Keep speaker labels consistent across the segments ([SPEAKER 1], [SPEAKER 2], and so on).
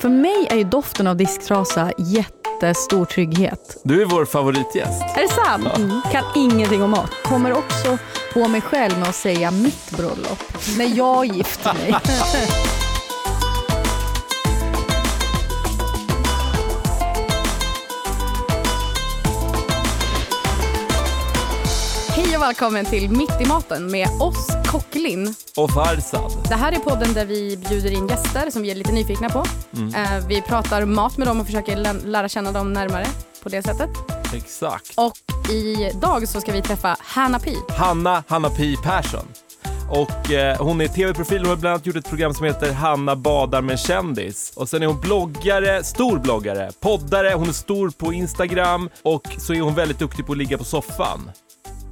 [SPEAKER 1] För mig är ju doften av disktrasa jättestor trygghet.
[SPEAKER 2] Du är vår favoritgäst.
[SPEAKER 1] Är det sant? Kan ingenting om mat. Kommer också på mig själv med att säga mitt bröllop. När jag gifter mig.
[SPEAKER 3] Hej och välkommen till Mitt i maten med oss Kocklin.
[SPEAKER 2] Och Farzad.
[SPEAKER 3] Det här är podden där vi bjuder in gäster som vi är lite nyfikna på.
[SPEAKER 2] Mm.
[SPEAKER 3] Eh, Vi pratar mat med dem och försöker lä- lära känna dem närmare på det sättet.
[SPEAKER 2] Exakt.
[SPEAKER 3] Och idag så ska vi träffa Hanna Pi.
[SPEAKER 2] Hanna Hanna Pi Persson. Och eh, hon är tv-profil och har bland annat gjort ett program som heter Hanna badar med en kändis. Och sen är hon bloggare, stor bloggare, poddare, hon är stor på Instagram och så är hon väldigt duktig på att ligga på soffan.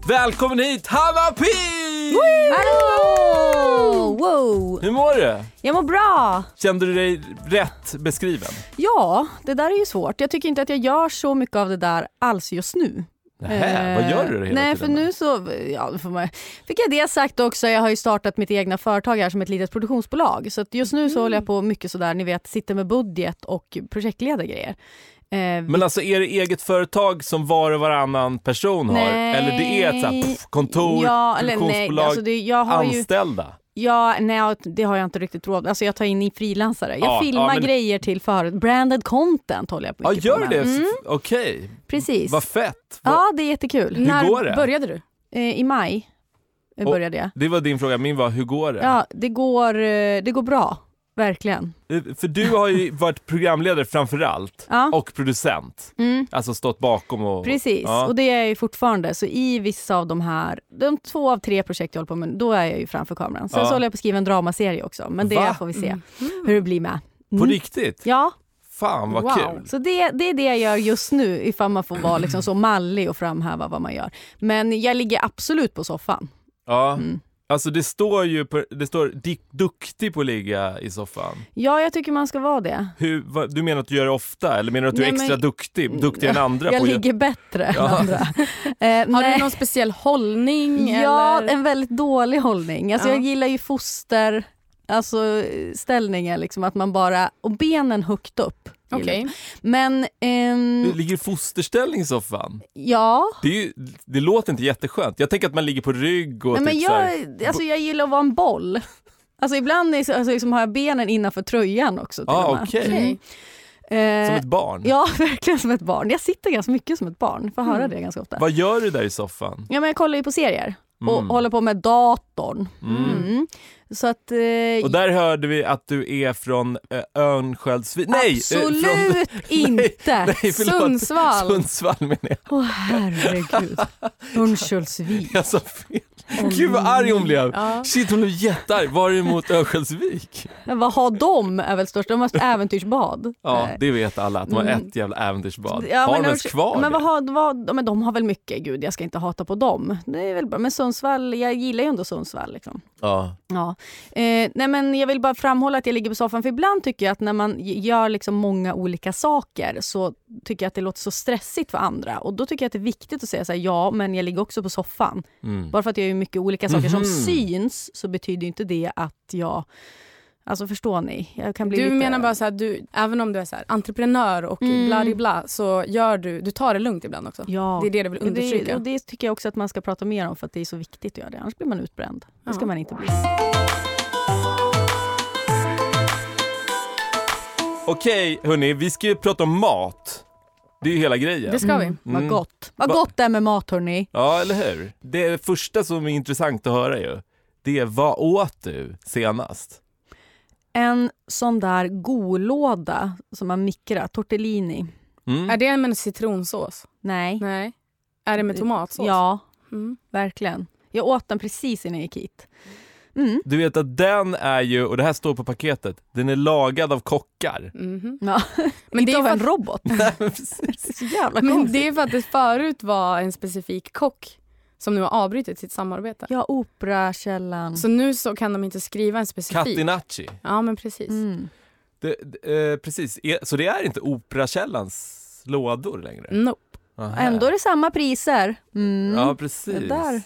[SPEAKER 2] Välkommen hit Hanna Pi!
[SPEAKER 1] Hallå! Wow!
[SPEAKER 2] Hur mår du?
[SPEAKER 1] Jag mår bra!
[SPEAKER 2] Kände du dig rätt beskriven?
[SPEAKER 1] Ja, det där är ju svårt. Jag tycker inte att jag gör så mycket av det där alls just nu. Eh,
[SPEAKER 2] Nähä, vad gör du då hela
[SPEAKER 1] Nej,
[SPEAKER 2] tiden
[SPEAKER 1] för
[SPEAKER 2] då?
[SPEAKER 1] nu så ja, får man, fick jag det sagt också. Jag har ju startat mitt egna företag här som ett litet produktionsbolag. Så att just nu så håller jag på mycket sådär, ni vet, sitter med budget och projektleder grejer. Eh,
[SPEAKER 2] Men alltså är det eget företag som var och varannan person har?
[SPEAKER 1] Nej.
[SPEAKER 2] Eller det är ett så här, pff, kontor,
[SPEAKER 1] ja, eller nej,
[SPEAKER 2] produktionsbolag,
[SPEAKER 1] alltså det, jag har ju,
[SPEAKER 2] anställda?
[SPEAKER 1] ja, nej, det har jag inte riktigt råd Alltså jag tar in i frilansare. Jag
[SPEAKER 2] Ja, ja,
[SPEAKER 1] filmar
[SPEAKER 2] men-
[SPEAKER 1] grejer till för branded content håller jag på
[SPEAKER 2] Ja,
[SPEAKER 1] mycket på
[SPEAKER 2] gör
[SPEAKER 1] med. Mm,
[SPEAKER 2] det? F- Okej,
[SPEAKER 1] Precis.
[SPEAKER 2] vad fett. Vad-
[SPEAKER 1] Ja, det är jättekul.
[SPEAKER 2] Hur
[SPEAKER 3] När
[SPEAKER 2] går det?
[SPEAKER 3] började du?
[SPEAKER 1] Eh, I maj eh,
[SPEAKER 2] Och-
[SPEAKER 1] började jag.
[SPEAKER 2] Det var din fråga, min var hur går det?
[SPEAKER 1] Ja, det går, eh, det går bra. Verkligen.
[SPEAKER 2] Eh, För du har ju varit programledare framför allt
[SPEAKER 1] Ja.
[SPEAKER 2] och producent,
[SPEAKER 1] Mm.
[SPEAKER 2] alltså stått bakom och...
[SPEAKER 1] Precis,
[SPEAKER 2] Ja.
[SPEAKER 1] och det är jag ju fortfarande. Så i vissa av de här, de två av tre projekt jag håller på med, då är jag ju framför kameran. Sen
[SPEAKER 2] Ja.
[SPEAKER 1] så håller jag på att skriva en dramaserie också, men det
[SPEAKER 2] Va? Mm.
[SPEAKER 1] får vi se hur det blir med.
[SPEAKER 2] På
[SPEAKER 1] Mm.
[SPEAKER 2] riktigt?
[SPEAKER 1] Ja,
[SPEAKER 2] Fan vad
[SPEAKER 3] Wow.
[SPEAKER 2] kul.
[SPEAKER 1] så det, det är det jag gör just nu ifall man får vara liksom så mallig och framhäva vad man gör. Men jag ligger absolut på soffan.
[SPEAKER 2] Ja.
[SPEAKER 1] Mm.
[SPEAKER 2] Alltså det står ju, på, det står "Dick duktig på att ligga i soffan.
[SPEAKER 1] Ja, jag tycker man ska vara det.
[SPEAKER 2] Hur, vad, du menar att du gör det ofta eller menar du att du
[SPEAKER 1] Nej,
[SPEAKER 2] är
[SPEAKER 1] men-
[SPEAKER 2] extra duktig, duktigare än andra?
[SPEAKER 1] Jag
[SPEAKER 2] på att
[SPEAKER 1] ligger bättre
[SPEAKER 2] Ja.
[SPEAKER 1] än andra. Eh,
[SPEAKER 3] Har
[SPEAKER 1] nej.
[SPEAKER 3] du någon speciell hållning?
[SPEAKER 1] Ja,
[SPEAKER 3] eller?
[SPEAKER 1] en väldigt dålig hållning. Alltså,
[SPEAKER 3] Ja.
[SPEAKER 1] Jag gillar ju foster, alltså ställningar, liksom, att man bara, och benen högt upp. gillar
[SPEAKER 3] Okej.
[SPEAKER 1] jag. Men ehm,
[SPEAKER 2] Du ligger i fosterställning i soffan.
[SPEAKER 1] ja,
[SPEAKER 2] Det, är ju, det låter inte jätteskönt. Jag tänker att man ligger på rygg och
[SPEAKER 1] Nej, men
[SPEAKER 2] typ så här,
[SPEAKER 1] jag, alltså, jag gillar att vara en boll. Alltså ibland är, så- alltså, liksom, har jag benen innanför tröjan också. till
[SPEAKER 2] Ah,
[SPEAKER 1] och med.
[SPEAKER 2] okej.
[SPEAKER 1] Mm. Eh,
[SPEAKER 2] som ett barn.
[SPEAKER 1] Ja, verkligen som ett barn. Jag sitter ganska mycket som ett barn, får
[SPEAKER 3] Mm.
[SPEAKER 1] höra det ganska ofta.
[SPEAKER 2] Vad gör du där i soffan?
[SPEAKER 1] Ja, men jag kollar ju på serier och
[SPEAKER 2] Mm.
[SPEAKER 1] håller på med datorn.
[SPEAKER 2] Mm.
[SPEAKER 1] Mm. Så att... eh,
[SPEAKER 2] Och där hörde vi att du är från eh, Örnsköldsvik. Nej! eh,
[SPEAKER 1] Absolut
[SPEAKER 2] Från,
[SPEAKER 1] inte!
[SPEAKER 2] nej, förlåt.
[SPEAKER 3] Sundsvall.
[SPEAKER 2] Sundsvall menar jag.
[SPEAKER 1] Åh herregud. Örnsköldsvik.
[SPEAKER 2] Jag sa fel. Gud vad arg hon blev.
[SPEAKER 3] Ja.
[SPEAKER 2] Shit hon blev jättearg. Var det mot Örnsköldsvik?
[SPEAKER 1] Men Vad har de är väl störst? De har ett äventyrsbad.
[SPEAKER 2] Ja,
[SPEAKER 1] Eh,
[SPEAKER 2] det vet alla att de har
[SPEAKER 1] Mm.
[SPEAKER 2] ett jävla äventyrsbad.
[SPEAKER 1] ja,
[SPEAKER 2] har de ens
[SPEAKER 1] Örns-
[SPEAKER 2] kvar
[SPEAKER 1] men vad
[SPEAKER 2] det?
[SPEAKER 1] har, vad, men De har väl mycket, gud jag ska inte hata på dem. Det är väl bra. Men Sundsvall, jag gillar ju ändå Sundsvall. Liksom.
[SPEAKER 2] Ja.
[SPEAKER 1] Ja. Eh, nej men jag vill bara framhålla att jag ligger på soffan, för ibland tycker jag att när man g- gör liksom många olika saker så tycker jag att det låter så stressigt för andra. Och då tycker jag att det är viktigt att säga så här, ja men jag ligger också på soffan.
[SPEAKER 2] Mm.
[SPEAKER 1] Bara för att jag gör mycket olika saker som
[SPEAKER 2] Mhm.
[SPEAKER 1] syns så betyder ju inte det att jag... Alltså förstår ni? Jag kan bli
[SPEAKER 3] Du
[SPEAKER 1] lite...
[SPEAKER 3] menar bara så här, du, även om du är så här, entreprenör och
[SPEAKER 1] Mm.
[SPEAKER 3] bla di bla så gör du, du tar det lugnt ibland också.
[SPEAKER 1] Ja.
[SPEAKER 3] Det är det du vill
[SPEAKER 1] Och det,
[SPEAKER 3] understryka.
[SPEAKER 1] och det tycker jag också att man ska prata mer om för att det är så viktigt att göra det. Annars blir man utbränd. Det ska
[SPEAKER 3] Ja.
[SPEAKER 1] man inte bli.
[SPEAKER 2] Okej hörni, vi ska ju prata om mat. Det är ju hela grejen.
[SPEAKER 3] Det ska vi.
[SPEAKER 2] Mm.
[SPEAKER 1] Vad gott. Vad
[SPEAKER 2] Va-
[SPEAKER 1] gott det är med mat hörni.
[SPEAKER 2] Ja, eller hur? Det första som är intressant att höra ju, det är vad åt du senast?
[SPEAKER 1] En sån där golåda som man mikrar, tortellini.
[SPEAKER 2] Mm.
[SPEAKER 3] Är det med citronsås?
[SPEAKER 1] Nej.
[SPEAKER 3] Nej. Är det med tomatsås?
[SPEAKER 1] Ja,
[SPEAKER 3] Mm.
[SPEAKER 1] verkligen. Jag åt den precis innan jag gick hit. Mm.
[SPEAKER 2] Du vet att den är ju, och det här står på paketet, den är lagad av kockar.
[SPEAKER 3] Mhm.
[SPEAKER 1] Ja.
[SPEAKER 3] Men,
[SPEAKER 1] Det
[SPEAKER 3] det är
[SPEAKER 1] av
[SPEAKER 3] för
[SPEAKER 1] en
[SPEAKER 3] att,
[SPEAKER 1] robot.
[SPEAKER 2] Nej, men precis.
[SPEAKER 1] Det är så jävla
[SPEAKER 3] men
[SPEAKER 1] konstigt.
[SPEAKER 3] det är för att det förut var en specifik kock som nu har avbrutit sitt samarbete.
[SPEAKER 1] Ja, Operakällan.
[SPEAKER 3] Så nu så kan de inte skriva en specifik.
[SPEAKER 2] Catinacci.
[SPEAKER 3] Ja men precis.
[SPEAKER 1] Mm.
[SPEAKER 2] Det, det, eh, precis, E- så det är inte Operakällans lådor längre?
[SPEAKER 3] No.
[SPEAKER 2] Aha.
[SPEAKER 1] Mm, Ändå är det samma priser. Mm.
[SPEAKER 2] Ja, precis.
[SPEAKER 1] Det där.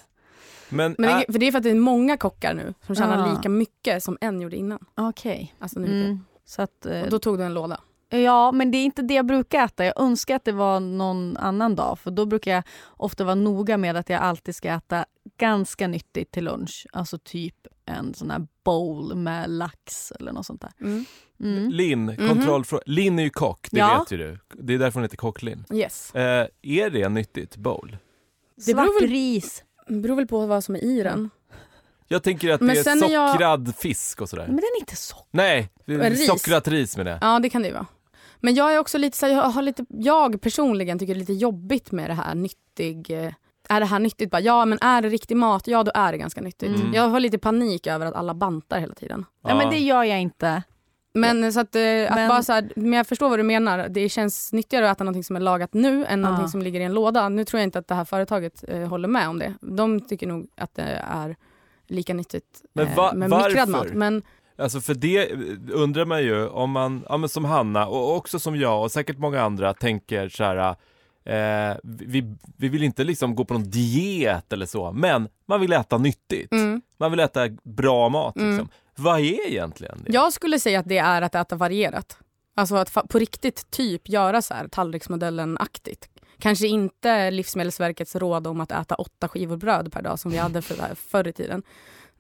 [SPEAKER 2] Men,
[SPEAKER 3] Men
[SPEAKER 2] ä-
[SPEAKER 3] det, för det är för att det är många kockar nu som tjänar
[SPEAKER 1] Ah.
[SPEAKER 3] lika mycket som en gjorde innan.
[SPEAKER 1] Okej.
[SPEAKER 3] Alltså nu.
[SPEAKER 1] Mm. Så att, eh,
[SPEAKER 3] Och då tog du en låda.
[SPEAKER 1] Ja, men det är inte det jag brukar äta. Jag önskar att det var någon annan dag. För Då brukar jag ofta vara noga med att jag alltid ska äta ganska nyttigt till lunch. Alltså typ en sån här bowl med lax eller något sånt där.
[SPEAKER 3] Mm.
[SPEAKER 1] Mm.
[SPEAKER 2] Linn, kontrollfråga. Linn är ju kock, det
[SPEAKER 1] Ja.
[SPEAKER 2] vet ju du. Det är därför hon heter Kock-Linn.
[SPEAKER 3] Yes.
[SPEAKER 2] Eh, är det nyttigt, bowl?
[SPEAKER 3] Det beror
[SPEAKER 1] Svart
[SPEAKER 3] väl-
[SPEAKER 1] ris.
[SPEAKER 3] Beror väl på vad som är i den.
[SPEAKER 2] Jag tänker att
[SPEAKER 3] Men
[SPEAKER 2] det är
[SPEAKER 3] sen är jag-
[SPEAKER 2] sockrad fisk och sådär.
[SPEAKER 1] Men den är inte så.
[SPEAKER 2] Nej,
[SPEAKER 3] Men ris.
[SPEAKER 2] sockrat ris menar jag.
[SPEAKER 3] Ja, det kan det ju vara. Men jag är också lite så här, jag har lite, jag personligen tycker det är lite jobbigt med det här nyttig, eh, är det här nyttigt? Bara, ja men är det riktig mat, ja då är det ganska nyttigt.
[SPEAKER 2] Mm.
[SPEAKER 3] Jag har lite panik över att alla bantar hela tiden.
[SPEAKER 1] Nej, men det gör jag inte.
[SPEAKER 3] Men så att, eh,
[SPEAKER 1] Men-
[SPEAKER 3] att bara så här, men jag förstår vad du menar. Det känns nyttigare att äta någonting som är lagat nu än någonting som ligger i en låda. Nu tror jag inte att det här företaget eh, håller med om det. De tycker nog att det är lika nyttigt
[SPEAKER 2] Men
[SPEAKER 3] eh,
[SPEAKER 2] va-
[SPEAKER 3] med
[SPEAKER 2] varför?
[SPEAKER 3] mikrad mat. Men
[SPEAKER 2] Alltså för det eh, undrar man ju om man, ja men som Hanna och också som jag och säkert många andra tänker så här. Eh, vi, vi vill inte liksom gå på någon diet eller så, men man vill äta nyttigt.
[SPEAKER 3] mm.
[SPEAKER 2] Man vill äta bra mat liksom.
[SPEAKER 3] Mm.
[SPEAKER 2] Vad är egentligen det?
[SPEAKER 3] jag skulle säga att det är att äta varierat. Alltså att fa- på riktigt typ göra så här tallriksmodellen-aktigt. Kanske inte Livsmedelsverkets råd om att äta åtta skivor bröd per dag som vi hade för, förr i tiden.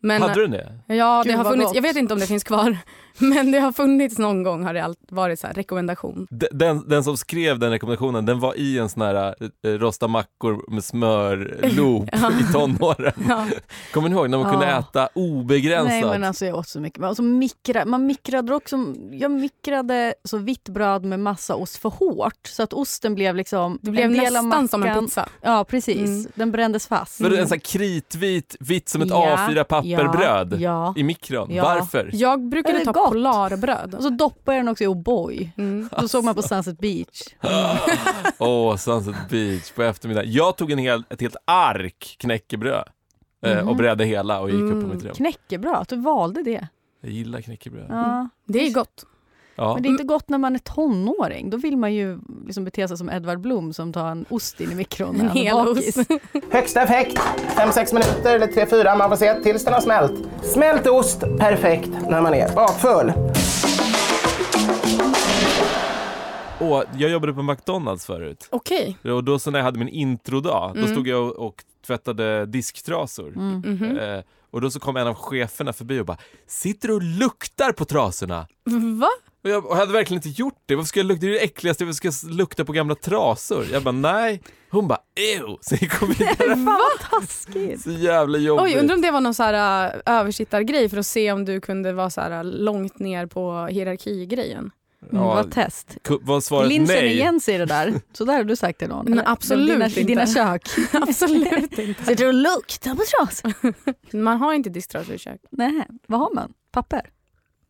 [SPEAKER 3] Men,
[SPEAKER 2] Hade du det?
[SPEAKER 3] Ja,
[SPEAKER 1] Gud,
[SPEAKER 3] det har
[SPEAKER 1] vad
[SPEAKER 3] funnits,
[SPEAKER 1] gott.
[SPEAKER 3] jag vet inte om det finns kvar, men det har funnits någon gång har det allt varit så här, rekommendation.
[SPEAKER 2] D- Den, den som skrev den rekommendationen, den var i en sån här eh, rosta mackor med smör loop i tonåren.
[SPEAKER 3] Ja.
[SPEAKER 2] Kommer ni ihåg när man kunde
[SPEAKER 1] Ja.
[SPEAKER 2] äta obegränsat?
[SPEAKER 1] Nej, men alltså jag åt så mycket. Men Alltså, mikra, man mikrade också, jag mikrade så vitt bröd med massa ost för hårt så att osten blev liksom
[SPEAKER 3] Det blev
[SPEAKER 1] en del av
[SPEAKER 3] nästan som en
[SPEAKER 1] mackan.
[SPEAKER 3] pizza.
[SPEAKER 1] Ja, precis.
[SPEAKER 3] Mm.
[SPEAKER 1] Den brändes fast.
[SPEAKER 2] Var det en sån här kritvit, vitt som ett
[SPEAKER 1] mm. Ja,
[SPEAKER 3] Mm.
[SPEAKER 2] A4-papperbröd
[SPEAKER 1] Ja, ja.
[SPEAKER 2] i mikron?
[SPEAKER 1] Ja.
[SPEAKER 2] Varför?
[SPEAKER 3] Jag
[SPEAKER 1] Är
[SPEAKER 3] brukade
[SPEAKER 1] det
[SPEAKER 3] ta
[SPEAKER 1] gott? Alltså,
[SPEAKER 3] Polarbröd.
[SPEAKER 1] Och så doppade jag den också i O'boy.
[SPEAKER 3] Mm.
[SPEAKER 1] Då såg man på
[SPEAKER 2] Alltså.
[SPEAKER 1] Sunset Beach.
[SPEAKER 2] Åh, Sunset Beach på eftermiddagen. Jag tog en hel, ett helt ark knäckebröd eh, och
[SPEAKER 1] Mhm.
[SPEAKER 2] bredde hela och gick upp på
[SPEAKER 3] Mm.
[SPEAKER 2] mitt rum.
[SPEAKER 1] Knäckebröd, att du valde det.
[SPEAKER 2] Jag gillar knäckebröd. Ja.
[SPEAKER 1] Ja.
[SPEAKER 3] Det är gott.
[SPEAKER 1] Men det är inte gott när man är tonåring. Då vill man ju liksom bete sig som Edvard Blom som tar en ost in i mikron. när
[SPEAKER 3] En
[SPEAKER 1] han är
[SPEAKER 3] hel
[SPEAKER 1] bakis.
[SPEAKER 3] ost.
[SPEAKER 4] Högsta effekt, 5-6 minuter eller 3-4 man får se tills den har smält. Smält ost, perfekt när man är bakfull.
[SPEAKER 2] Och jag jobbade på McDonalds förut.
[SPEAKER 3] Okej.
[SPEAKER 2] Och då så när jag hade min introdag,
[SPEAKER 3] Mm.
[SPEAKER 2] då stod jag och, och tvättade disktrasor.
[SPEAKER 3] Mhm.
[SPEAKER 2] Eh, och då så kom en av cheferna förbi och bara, sitter du och luktar på trasorna?
[SPEAKER 3] Va?
[SPEAKER 2] Och jag, och jag hade verkligen inte gjort det. Varför ska jag lukta? Det är det äckligaste, varför ska jag lukta på gamla trasor? Jag bara, nej. Hon bara, ew. Så gick hon vidare.
[SPEAKER 1] Fan vad taskigt.
[SPEAKER 2] Så jävla jobbigt.
[SPEAKER 3] Oj, undrar om det var någon så här äh, översittargrej för att se om du kunde vara så här äh, långt ner på hierarkigrejen.
[SPEAKER 1] Mm,
[SPEAKER 2] Ja,
[SPEAKER 1] vad test.
[SPEAKER 2] ku- var svaret
[SPEAKER 1] Linn känner
[SPEAKER 2] nej?
[SPEAKER 1] igen sig i det där. Så där har du sagt till någon.
[SPEAKER 3] Nej,
[SPEAKER 1] eller?
[SPEAKER 3] absolut
[SPEAKER 1] dina, I dina
[SPEAKER 3] inte.
[SPEAKER 1] kök.
[SPEAKER 3] Absolut inte.
[SPEAKER 1] Sitter du och luktar på trasor?
[SPEAKER 3] Man har inte disktrasor i kök.
[SPEAKER 1] Nej, vad har man? Papper?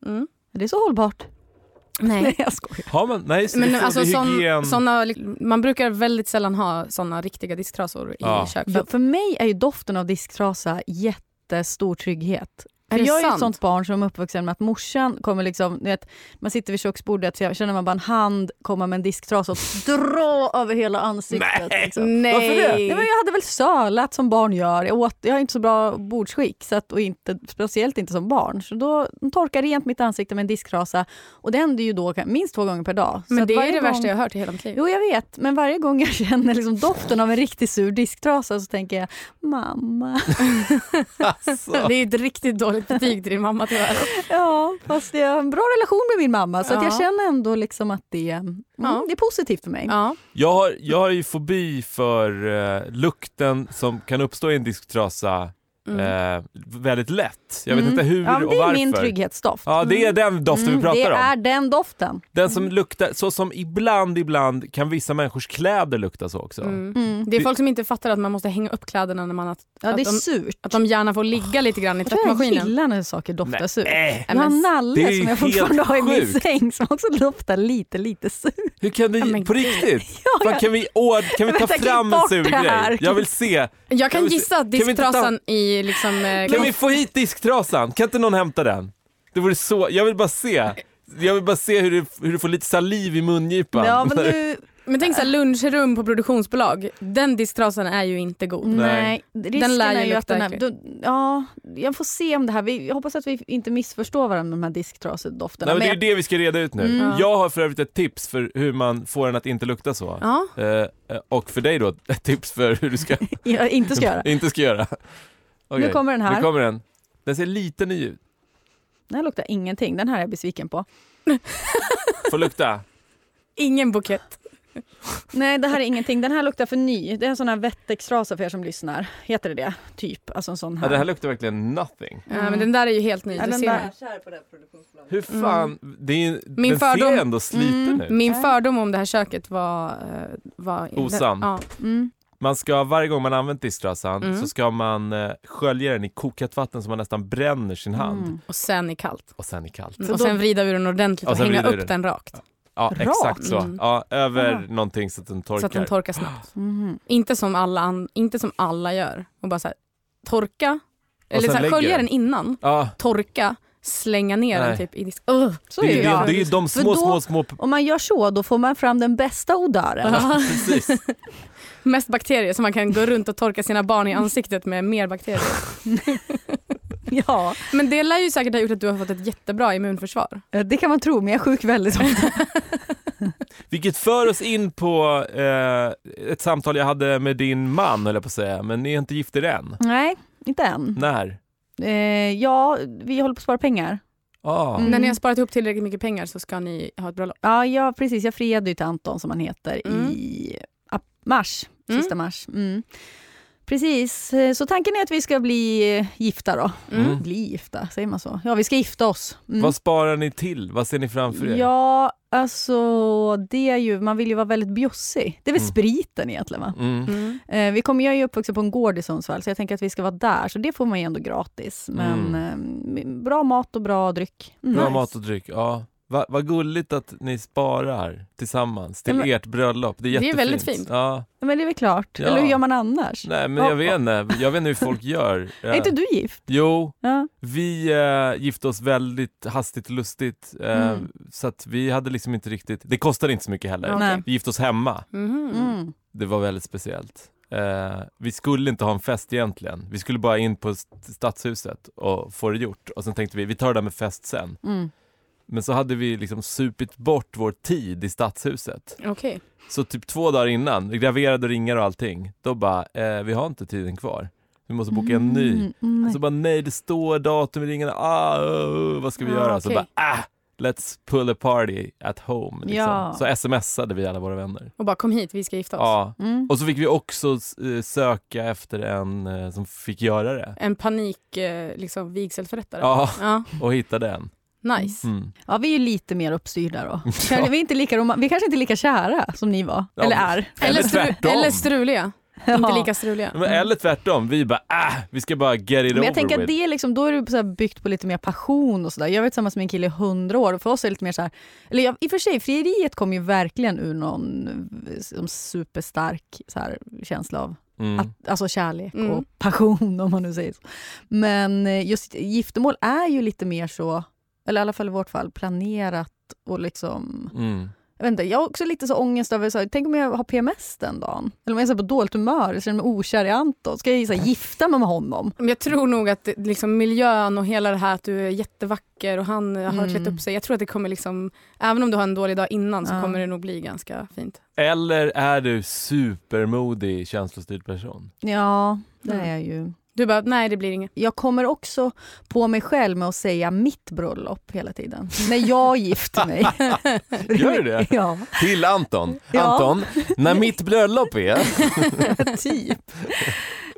[SPEAKER 3] Mm.
[SPEAKER 1] Det är så hållbart.
[SPEAKER 3] Nej.
[SPEAKER 1] Nej, jag skojar.
[SPEAKER 2] Har man? Nej, så
[SPEAKER 3] Men
[SPEAKER 2] det är
[SPEAKER 3] alltså,
[SPEAKER 2] hygien.
[SPEAKER 3] sån, såna, man brukar väldigt sällan ha såna riktiga disktrasor i
[SPEAKER 2] Ja.
[SPEAKER 3] kök.
[SPEAKER 1] Ja, för mig är ju doften av disktrasa jättestor trygghet.
[SPEAKER 3] Är
[SPEAKER 1] För
[SPEAKER 3] det
[SPEAKER 1] jag är ju
[SPEAKER 3] sant?
[SPEAKER 1] ett sånt barn som är uppvuxen med att morsan kommer liksom, ni vet, man sitter vid köksbordet så jag känner man bara en hand komma med en disktrasa och dra över hela ansiktet. Liksom.
[SPEAKER 3] Nej.
[SPEAKER 1] Nej, men jag hade väl sölat som barn gör. Jag, åt, jag har inte så bra bordsskick, så att, och inte, speciellt inte som barn. Så då torkade jag rent mitt ansikte med en diskrasa. Och det händer ju då ka- minst två gånger per dag. så
[SPEAKER 3] Men
[SPEAKER 1] att
[SPEAKER 3] det är
[SPEAKER 1] varje
[SPEAKER 3] det
[SPEAKER 1] gång-
[SPEAKER 3] värsta jag har hört i hela mitt liv.
[SPEAKER 1] Jo, jag vet. Men varje gång jag känner liksom doften av en riktigt sur disktrasa så tänker jag mamma.
[SPEAKER 2] Alltså.
[SPEAKER 3] Det är ett riktigt dåligt betyg till din mamma tyvärr.
[SPEAKER 1] Ja, fast jag har en bra relation med min mamma så att jag
[SPEAKER 3] Ja.
[SPEAKER 1] känner ändå liksom att det, mm,
[SPEAKER 3] Ja.
[SPEAKER 1] det är positivt för mig.
[SPEAKER 3] Ja.
[SPEAKER 2] Jag, har, jag har ju fobi för eh, lukten som kan uppstå i en disktrasa eh, väldigt lätt. Jag vet
[SPEAKER 1] Mm.
[SPEAKER 2] inte hur
[SPEAKER 1] Ja, men
[SPEAKER 2] och
[SPEAKER 1] det är
[SPEAKER 2] varför.
[SPEAKER 1] min trygghetsdoft.
[SPEAKER 2] Ja, det är den doften vi
[SPEAKER 1] Mm,
[SPEAKER 2] pratar
[SPEAKER 1] det
[SPEAKER 2] om.
[SPEAKER 1] är mm. den doften.
[SPEAKER 2] Den som luktar, så som ibland, ibland kan vissa människors kläder lukta så också.
[SPEAKER 3] Mm.
[SPEAKER 1] Mm.
[SPEAKER 3] Det är folk som inte fattar att man måste hänga upp kläderna när man att,
[SPEAKER 1] Ja, det är
[SPEAKER 3] att, de,
[SPEAKER 1] surt.
[SPEAKER 3] att de gärna får ligga lite grann i
[SPEAKER 1] Jag tror jag
[SPEAKER 3] tvättmaskinen.
[SPEAKER 1] gillar när saker doftar surt.
[SPEAKER 2] Nej. Äh,
[SPEAKER 1] Jag har en
[SPEAKER 2] det är
[SPEAKER 1] nalle
[SPEAKER 2] ju
[SPEAKER 1] som jag
[SPEAKER 2] helt
[SPEAKER 1] fortfarande har i min
[SPEAKER 2] sjukt.
[SPEAKER 1] säng som också doftar lite, lite surt.
[SPEAKER 2] Hur kan
[SPEAKER 3] Ja,
[SPEAKER 2] det,
[SPEAKER 3] men
[SPEAKER 2] på riktigt?
[SPEAKER 1] Ja,
[SPEAKER 2] Fan,
[SPEAKER 1] jag-
[SPEAKER 2] kan vi, åh, kan vi ta
[SPEAKER 1] Vänta, klipp
[SPEAKER 2] fram en
[SPEAKER 1] bort
[SPEAKER 2] sur
[SPEAKER 1] det här.
[SPEAKER 2] grej? Jag vill se.
[SPEAKER 3] Jag
[SPEAKER 2] Kan
[SPEAKER 3] kan
[SPEAKER 2] vi-
[SPEAKER 3] gissa att
[SPEAKER 2] vi inte ta-
[SPEAKER 3] disktrasan i liksom... eh,
[SPEAKER 2] Kan vi få hit disktrasan? Kan inte någon hämta den? Det vore så, jag vill bara se. Jag vill bara se hur du, hur du får lite saliv i mungipan.
[SPEAKER 1] Ja, men nu,
[SPEAKER 3] Men tänk såhär lunchrum på produktionsbolag. Den disktrasan är ju inte god.
[SPEAKER 2] Nej.
[SPEAKER 1] Nej, risken
[SPEAKER 3] lär ju
[SPEAKER 1] är ju att
[SPEAKER 3] lukta
[SPEAKER 1] den här,
[SPEAKER 3] äckligt.
[SPEAKER 1] då, ja, jag får se om det här, vi, jag hoppas att vi inte missförstår varandra med de här disktrasedofterna.
[SPEAKER 2] Nej, men det är ju
[SPEAKER 1] jag-
[SPEAKER 2] det vi ska reda ut nu.
[SPEAKER 1] Mm.
[SPEAKER 2] Jag har för övrigt ett tips för hur man får den att inte lukta så.
[SPEAKER 3] Ja.
[SPEAKER 2] Eh, eh, och för dig då, ett tips för hur du ska,
[SPEAKER 1] jag inte ska göra.
[SPEAKER 2] inte ska göra. Okej,
[SPEAKER 1] Nu kommer den
[SPEAKER 2] Nu
[SPEAKER 1] här.
[SPEAKER 2] kommer den. Den ser lite ny ut.
[SPEAKER 1] Den här luktar ingenting, den här är jag besviken på.
[SPEAKER 2] Får lukta.
[SPEAKER 3] Ingen bukett.
[SPEAKER 1] Nej, det här är ingenting. Den här luktar för ny. Det är en sån här wettextrasa för er som lyssnar. Heter det det? Typ. Alltså en sån
[SPEAKER 2] Ja,
[SPEAKER 1] här.
[SPEAKER 2] det här luktar verkligen nothing.
[SPEAKER 3] Ja, men den där är ju helt ny.
[SPEAKER 1] Ja,
[SPEAKER 3] du
[SPEAKER 1] den
[SPEAKER 3] ser
[SPEAKER 1] där.
[SPEAKER 3] den.
[SPEAKER 2] Hur fan, det är, ju-
[SPEAKER 3] Min
[SPEAKER 2] den
[SPEAKER 3] fördom-
[SPEAKER 2] ser ändå sliten ut.
[SPEAKER 3] Min fördom om det här köket var... eh, var
[SPEAKER 2] Osann.
[SPEAKER 3] Ja.
[SPEAKER 1] Mm.
[SPEAKER 2] Man ska, varje gång man använt disktrasan
[SPEAKER 3] Mm.
[SPEAKER 2] så ska man eh, skölja den i kokat vatten så man nästan bränner sin hand.
[SPEAKER 1] Mm.
[SPEAKER 3] Och sen i kallt.
[SPEAKER 2] Och sen i kallt.
[SPEAKER 1] Så
[SPEAKER 3] och
[SPEAKER 1] då-
[SPEAKER 3] sen vrida ur den ordentligt
[SPEAKER 2] Och
[SPEAKER 3] och,
[SPEAKER 2] sen
[SPEAKER 3] hänga
[SPEAKER 2] vrida ur
[SPEAKER 3] upp
[SPEAKER 2] den.
[SPEAKER 3] den, rakt.
[SPEAKER 2] Ja,
[SPEAKER 1] Rakt?
[SPEAKER 2] exakt så.
[SPEAKER 3] Mm.
[SPEAKER 2] Ja, över
[SPEAKER 1] Aha.
[SPEAKER 2] någonting så att den torkar.
[SPEAKER 3] Så att den torkar snabbt.
[SPEAKER 1] Mhm.
[SPEAKER 3] Inte som alla, an- inte som alla gör. Och bara så här, torka. Eller
[SPEAKER 2] sen
[SPEAKER 3] så här,
[SPEAKER 2] lägger
[SPEAKER 3] skölja
[SPEAKER 2] den.
[SPEAKER 3] den innan.
[SPEAKER 2] ja,
[SPEAKER 3] torka, slänga ner
[SPEAKER 2] Nej.
[SPEAKER 3] den typ i disken. Ugh.
[SPEAKER 1] Så
[SPEAKER 2] det,
[SPEAKER 1] är
[SPEAKER 2] är,
[SPEAKER 1] ju
[SPEAKER 2] det, är-
[SPEAKER 1] jag.
[SPEAKER 2] det är ju de
[SPEAKER 1] För
[SPEAKER 2] små,
[SPEAKER 1] då-
[SPEAKER 2] små, små...
[SPEAKER 1] Om man gör så, då får man fram den bästa odören.
[SPEAKER 2] Precis.
[SPEAKER 3] Mest bakterier som man kan gå runt och torka sina barn i ansiktet med mer bakterier.
[SPEAKER 1] ja,
[SPEAKER 3] Men det lär ju säkert ha gjort att du har fått ett jättebra immunförsvar.
[SPEAKER 1] Eh, det kan man tro, men jag är sjuk väldigt ofta.
[SPEAKER 2] Vilket för oss in på eh, ett samtal jag hade med din man, höll jag på att säga. Men ni är inte gifter än.
[SPEAKER 1] Nej, inte än.
[SPEAKER 2] När?
[SPEAKER 1] Eh, ja, vi håller på att spara pengar.
[SPEAKER 2] Ah.
[SPEAKER 1] Mm.
[SPEAKER 3] När ni har sparat ihop tillräckligt mycket pengar så ska ni ha ett bröllop.
[SPEAKER 1] Ja, ja precis. Jag friade ju till Anton som han heter i ap- mars,
[SPEAKER 3] Mm.
[SPEAKER 1] sista mars. Mm. Precis, Eh, så tanken är att vi ska bli eh, gifta då.
[SPEAKER 2] Mm.
[SPEAKER 1] Bli gifta, säger man så? Ja, vi ska gifta oss. Mm.
[SPEAKER 2] Vad sparar ni till? Vad ser ni framför er?
[SPEAKER 1] Ja, alltså det är ju, man vill ju vara väldigt bjussig. Det är väl
[SPEAKER 2] Mm.
[SPEAKER 1] spriten egentligen va?
[SPEAKER 2] Mm.
[SPEAKER 3] Mm.
[SPEAKER 1] Eh, vi kommer, jag är ju uppvuxen på en gård i Sundsvall så jag tänker att vi ska vara där, så det får man ju ändå gratis.
[SPEAKER 2] Mm.
[SPEAKER 1] Men eh, bra mat och bra dryck. Mm.
[SPEAKER 2] Bra
[SPEAKER 3] Nice.
[SPEAKER 2] mat och dryck. Ja. Va, vad gulligt att ni sparar tillsammans till
[SPEAKER 1] Ja, men-
[SPEAKER 2] ert bröllop. Det är
[SPEAKER 3] Det är
[SPEAKER 2] jättefint.
[SPEAKER 3] väldigt fint.
[SPEAKER 2] Ja.
[SPEAKER 1] Ja, Men det är väl klart,
[SPEAKER 2] Ja.
[SPEAKER 1] eller hur gör man annars?
[SPEAKER 2] Nej, men jag
[SPEAKER 1] Ja,
[SPEAKER 2] vet
[SPEAKER 1] ja.
[SPEAKER 2] inte. Jag vet inte hur folk gör.
[SPEAKER 1] Är
[SPEAKER 2] Ja.
[SPEAKER 1] inte du gift?
[SPEAKER 2] Jo,
[SPEAKER 1] Ja.
[SPEAKER 2] Vi eh, gifte oss väldigt hastigt och lustigt eh,
[SPEAKER 1] Mm.
[SPEAKER 2] så att vi hade liksom inte riktigt, det kostade inte så mycket heller.
[SPEAKER 3] Ja.
[SPEAKER 1] Nej.
[SPEAKER 2] Vi gifte oss hemma,
[SPEAKER 3] Mm. Mhm.
[SPEAKER 1] Mm.
[SPEAKER 2] det var väldigt speciellt. Eh, vi skulle inte ha en fest egentligen, vi skulle bara in på st- stadshuset och få det gjort och sen tänkte vi, vi tar det där med fest sen.
[SPEAKER 1] Mm.
[SPEAKER 2] Men så hade vi liksom supit bort vår tid i stadshuset.
[SPEAKER 3] Okej.
[SPEAKER 2] Så typ två dagar innan, vi graverade ringar och allting, då bara, eh, vi har inte tiden kvar. Vi måste boka en ny. Alltså-
[SPEAKER 1] Mm, mm,
[SPEAKER 2] Och så bara nej, det står datum i ringarna. Ah, uh, uh, vad ska vi
[SPEAKER 3] Ja,
[SPEAKER 2] göra? Så
[SPEAKER 3] okej.
[SPEAKER 2] bara ah, let's pull a party at home. Liksom.
[SPEAKER 1] Ja.
[SPEAKER 2] Så smsade vi alla våra vänner.
[SPEAKER 3] Och bara kom hit, vi ska gifta oss.
[SPEAKER 2] Ja.
[SPEAKER 1] mm.
[SPEAKER 2] Och så fick vi också eh, söka efter en eh, som fick göra det.
[SPEAKER 3] En panik eh, liksom, vigselförrättare.
[SPEAKER 2] Ja,
[SPEAKER 3] Ja,
[SPEAKER 2] och hittade en.
[SPEAKER 3] nice.
[SPEAKER 2] Mm.
[SPEAKER 1] Ja, vi är ju lite mer uppstyrda då.
[SPEAKER 2] Ja.
[SPEAKER 1] Kanske, vi, är inte lika roma- vi kanske inte är lika kära som ni var,
[SPEAKER 2] Ja,
[SPEAKER 1] eller
[SPEAKER 2] men-
[SPEAKER 1] är.
[SPEAKER 2] Eller tvärtom.
[SPEAKER 3] eller struliga. Inte
[SPEAKER 1] Ja.
[SPEAKER 3] lika struliga.
[SPEAKER 2] Men, eller tvärtom, vi bara ah, vi ska bara get
[SPEAKER 1] Men
[SPEAKER 2] it over
[SPEAKER 1] jag tänker att
[SPEAKER 2] with.
[SPEAKER 1] det är liksom, då är det så här byggt på lite mer passion och sådär. Jag var tillsammans med en kille i hundra år och för oss är det lite mer så här, eller jag, i och för sig frieriet kom ju verkligen ur någon eh, som superstark så här, känsla av
[SPEAKER 2] Mm.
[SPEAKER 1] att, alltså kärlek
[SPEAKER 3] Mm.
[SPEAKER 1] och passion om man nu säger så. Men eh, just giftermål är ju lite mer så, eller i alla fall i vårt fall, planerat och liksom
[SPEAKER 2] Mm.
[SPEAKER 1] Jag, vet inte, jag har också lite så ångest över, så här, tänk om jag har PMS den dagen? Eller om jag är så här på dåligt humör, jag känner mig okär i Anton. Ska jag ju så här, gifta mig med honom?
[SPEAKER 3] Men Jag tror nog att det- liksom, miljön och hela det här att du är jättevacker och han eh, har
[SPEAKER 1] Mm.
[SPEAKER 3] klätt upp sig. Jag tror att det kommer liksom, även om du har en dålig dag innan så
[SPEAKER 1] Ja.
[SPEAKER 3] kommer det nog bli ganska fint.
[SPEAKER 2] Eller är du supermodig känslostyrd person?
[SPEAKER 1] Ja, det
[SPEAKER 3] Mm.
[SPEAKER 1] är jag ju.
[SPEAKER 3] Du bara, nej det blir inget.
[SPEAKER 1] Jag kommer också på mig själv med att säga mitt bröllop hela tiden. När jag gifter mig.
[SPEAKER 2] Gör du det?
[SPEAKER 1] ja,
[SPEAKER 2] Till Anton.
[SPEAKER 1] Ja.
[SPEAKER 2] Anton, när mitt bröllop är
[SPEAKER 1] typ.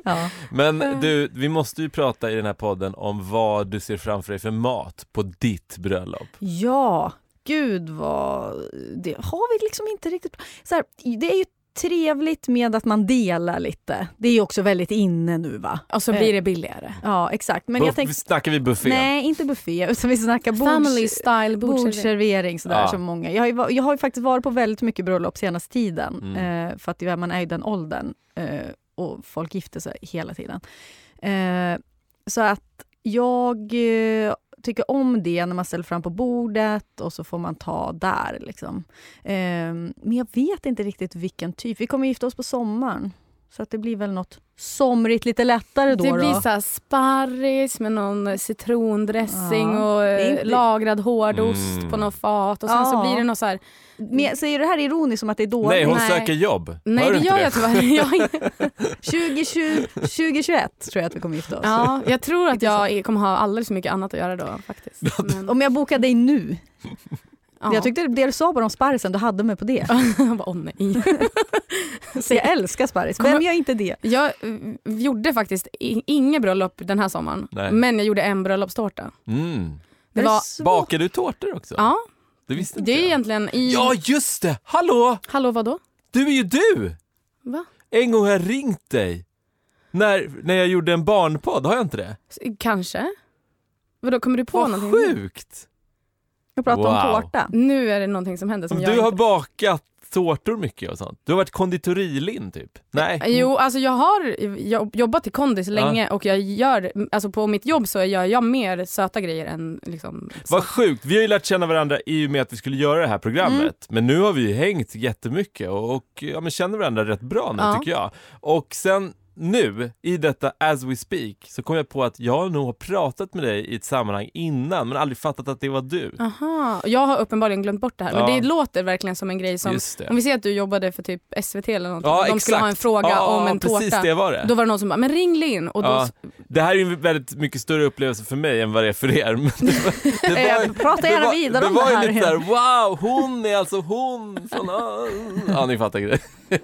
[SPEAKER 1] Ja.
[SPEAKER 2] Men du, vi måste ju prata i den här podden om vad du ser framför dig för mat på ditt bröllop.
[SPEAKER 1] ja, gud vad... Det har vi liksom inte riktigt... Så här, det är ju trevligt med att man delar lite. Det är ju också väldigt inne nu va?
[SPEAKER 3] Och så
[SPEAKER 1] Eh.
[SPEAKER 3] blir det billigare.
[SPEAKER 1] Ja, exakt. Men
[SPEAKER 2] Men
[SPEAKER 1] jag tänk...
[SPEAKER 2] Snackar vi buffé?
[SPEAKER 1] Nej, inte buffé, utan vi snackar bords...
[SPEAKER 3] Family style bordsservering.
[SPEAKER 1] Bordsservering sådär
[SPEAKER 2] Ja.
[SPEAKER 1] som många. Jag har, ju, va- jag har ju faktiskt varit på väldigt mycket bröllop senaste tiden.
[SPEAKER 2] Mm.
[SPEAKER 1] Eh, för att det- man är ju den åldern eh, och folk gifter sig hela tiden. Eh, så att jag eh, tycker om det när man ställer fram på bordet och så får man ta där. Liksom. Ehm, men jag vet inte riktigt vilken typ. Vi kommer gifta oss på sommaren. Så att det blir väl något somrigt, lite lättare då.
[SPEAKER 3] Det blir
[SPEAKER 1] då.
[SPEAKER 3] så här sparris med någon citrondressing
[SPEAKER 1] Ja.
[SPEAKER 3] och
[SPEAKER 1] Det är
[SPEAKER 3] eh,
[SPEAKER 1] inte-
[SPEAKER 3] lagrad hårdost
[SPEAKER 2] Mm.
[SPEAKER 3] på något fat och sen
[SPEAKER 1] Ja.
[SPEAKER 3] så blir det något så här.
[SPEAKER 1] Men, säger du det här ironiskt som att det är dåligt?
[SPEAKER 2] Nej, hon
[SPEAKER 3] Nej.
[SPEAKER 2] söker jobb.
[SPEAKER 3] Nej
[SPEAKER 2] Hör du
[SPEAKER 3] det
[SPEAKER 2] inte
[SPEAKER 3] gör jag tyvärr jag,
[SPEAKER 1] 2020, 2021 tror jag att vi kommer gifta oss.
[SPEAKER 3] ja, jag tror att jag kommer ha alldeles för mycket annat att göra då faktiskt. Men,
[SPEAKER 1] Om jag bokar dig nu.
[SPEAKER 3] ja.
[SPEAKER 1] Jag tyckte det du sa bara om sparrisen, du hade mig på det.
[SPEAKER 3] Jag bara, åh nej.
[SPEAKER 1] Så jag älskar sparris. Vem
[SPEAKER 3] Kommer-
[SPEAKER 1] gör inte det?
[SPEAKER 3] Jag eh, gjorde faktiskt i- inget bröllop den här sommaren.
[SPEAKER 2] Nej.
[SPEAKER 3] Men jag gjorde en bröllopstårta.
[SPEAKER 2] Mm.
[SPEAKER 3] Det var,
[SPEAKER 1] svårt.
[SPEAKER 2] Bakar du tårtor också?
[SPEAKER 3] ja,
[SPEAKER 2] Det visste inte
[SPEAKER 3] det är
[SPEAKER 2] jag.
[SPEAKER 3] egentligen i...
[SPEAKER 2] Ja, just det! Hallå!
[SPEAKER 3] Hallå vadå?
[SPEAKER 2] Du är ju du!
[SPEAKER 3] Va?
[SPEAKER 2] En gång har jag ringt dig. När, när jag gjorde en barnpodd, har jag inte det?
[SPEAKER 3] S- Kanske? Vadå kommer du på
[SPEAKER 2] Vad
[SPEAKER 3] någonting?
[SPEAKER 2] sjukt!
[SPEAKER 1] Jag pratar
[SPEAKER 2] Wow.
[SPEAKER 1] om tårta.
[SPEAKER 3] Nu är det någonting som händer som jag
[SPEAKER 2] Du har
[SPEAKER 3] inte...
[SPEAKER 2] bakat tårtor mycket och sånt. Du har varit konditorilin typ. Nej.
[SPEAKER 3] Jo, alltså jag har jobb- jobbat i kondis länge och jag gör, alltså på mitt jobb så gör jag mer söta grejer än liksom...
[SPEAKER 2] Vad sjukt, vi har ju lärt känna varandra i och med att vi skulle göra det här programmet.
[SPEAKER 3] Mm.
[SPEAKER 2] Men nu har vi ju hängt jättemycket och, och ja, men känner varandra rätt bra nu
[SPEAKER 3] Ja.
[SPEAKER 2] tycker jag. Och sen nu, i detta as we speak, så kom jag på att jag nog har pratat med dig i ett sammanhang innan men aldrig fattat att det var du.
[SPEAKER 3] Aha, jag har uppenbarligen glömt bort det här men
[SPEAKER 2] Ja.
[SPEAKER 3] det låter verkligen som en grej som...
[SPEAKER 2] Just det.
[SPEAKER 3] Om vi ser att du jobbade för typ SVT eller någonting,
[SPEAKER 2] Ja,
[SPEAKER 3] de
[SPEAKER 2] exakt.
[SPEAKER 3] skulle ha en fråga
[SPEAKER 2] Ja,
[SPEAKER 3] om en tårta.
[SPEAKER 2] precis det var det.
[SPEAKER 3] Då var det någon som bara, men ring Linn och då
[SPEAKER 2] Eh. Ja, det här är ju en väldigt mycket större upplevelse för mig än vad det är för er. Men det var, det
[SPEAKER 1] Eh, prata gärna
[SPEAKER 2] det var,
[SPEAKER 1] vidare om
[SPEAKER 2] det var
[SPEAKER 1] det här.
[SPEAKER 2] ju lite såhär, wow, hon är alltså hon från... Ja, ni fattar grejen.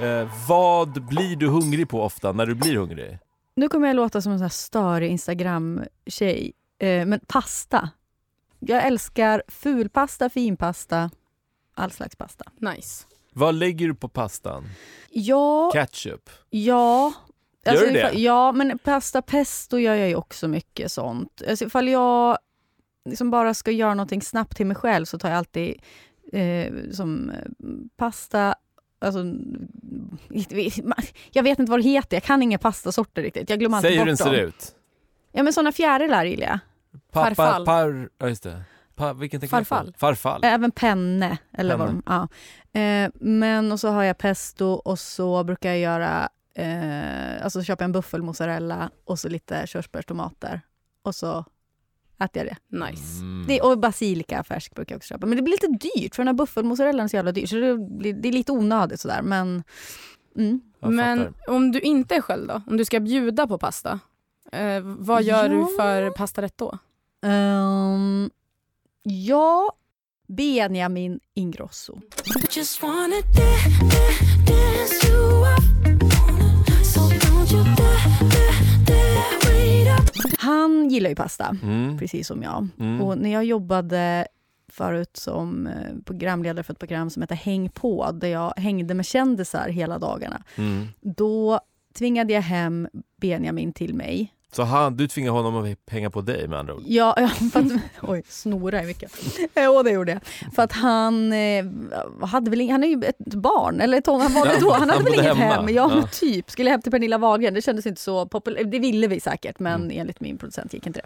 [SPEAKER 2] Eh, vad blir du hungrig på ofta när du blir hungrig?
[SPEAKER 1] Nu kommer jag låta som en sån här större Instagram-tjej. Eh, men pasta. Jag älskar fulpasta, finpasta, all slags pasta.
[SPEAKER 3] nice.
[SPEAKER 2] Vad lägger du på pastan?
[SPEAKER 1] Ja,
[SPEAKER 2] Ketchup?
[SPEAKER 1] ja.
[SPEAKER 2] Gör
[SPEAKER 1] Alltså,
[SPEAKER 2] du det?
[SPEAKER 1] ifall- Ja, men pasta pesto gör jag ju också mycket sånt. Alltså, ifall jag liksom bara ska göra någonting snabbt till mig själv så tar jag alltid eh, som eh, pasta Alltså, jag vet inte vad det heter, jag kan inga pastasorter riktigt. Jag glömmer alltid
[SPEAKER 2] Säg hur
[SPEAKER 1] bort
[SPEAKER 2] den ser
[SPEAKER 1] dem.
[SPEAKER 2] ut.
[SPEAKER 1] Ja men såna fjärilar gillar jag.
[SPEAKER 2] Pa, pa,
[SPEAKER 3] Farfall.
[SPEAKER 2] par, ja, just det. Pa, vilken tänker jag på?
[SPEAKER 3] Farfall.
[SPEAKER 2] Farfall.
[SPEAKER 1] Även penne. Eller vad
[SPEAKER 2] Penne.
[SPEAKER 1] de, ja. eh, men och så har jag pesto och så brukar jag göra, eh, alltså köpa en buffelmozzarella och så lite körsbärstomater. Och så äter jag det.
[SPEAKER 3] Nice.
[SPEAKER 2] Mm.
[SPEAKER 1] det. Och basilika färsk brukar jag också köpa. Men det blir lite dyrt för den här buffelmozzarellan är så jävla dyr så det, blir, det är lite onödigt sådär men mm.
[SPEAKER 2] Jag
[SPEAKER 3] Men
[SPEAKER 2] fattar.
[SPEAKER 3] om du inte är själv då? Om du ska bjuda på pasta, eh, vad gör
[SPEAKER 1] Ja.
[SPEAKER 3] du för pastarätt då?
[SPEAKER 1] Ehm, ja, Benjamin Ingrosso.
[SPEAKER 5] Just wanna da- da- dance you up. So don't you dare, dare, dare wait up.
[SPEAKER 1] Han gillar ju pasta,
[SPEAKER 2] Mm.
[SPEAKER 1] precis som jag.
[SPEAKER 2] Mm.
[SPEAKER 1] Och när jag jobbade förut som eh, programledare för ett program som heter Häng på, där jag hängde med kändisar hela dagarna,
[SPEAKER 2] Mm.
[SPEAKER 1] då tvingade jag hem Benjamin till mig.
[SPEAKER 2] Så han, du tvingar honom att hänga på dig med andra ord?
[SPEAKER 1] Ja, ja, för att, oj, snora är mycket. Eh, Och det gjorde jag. För att han eh, hade väl ing- han är ju ett barn, eller ton, han var det då, han hade
[SPEAKER 2] Han
[SPEAKER 1] väl
[SPEAKER 2] bodde
[SPEAKER 1] inget
[SPEAKER 2] hemma.
[SPEAKER 1] hem. Ja,
[SPEAKER 2] Ja.
[SPEAKER 1] typ. Skulle hem till Pernilla Wahlgren, det kändes inte så populärt. Det ville vi säkert, men
[SPEAKER 2] Mm.
[SPEAKER 1] enligt min producent gick inte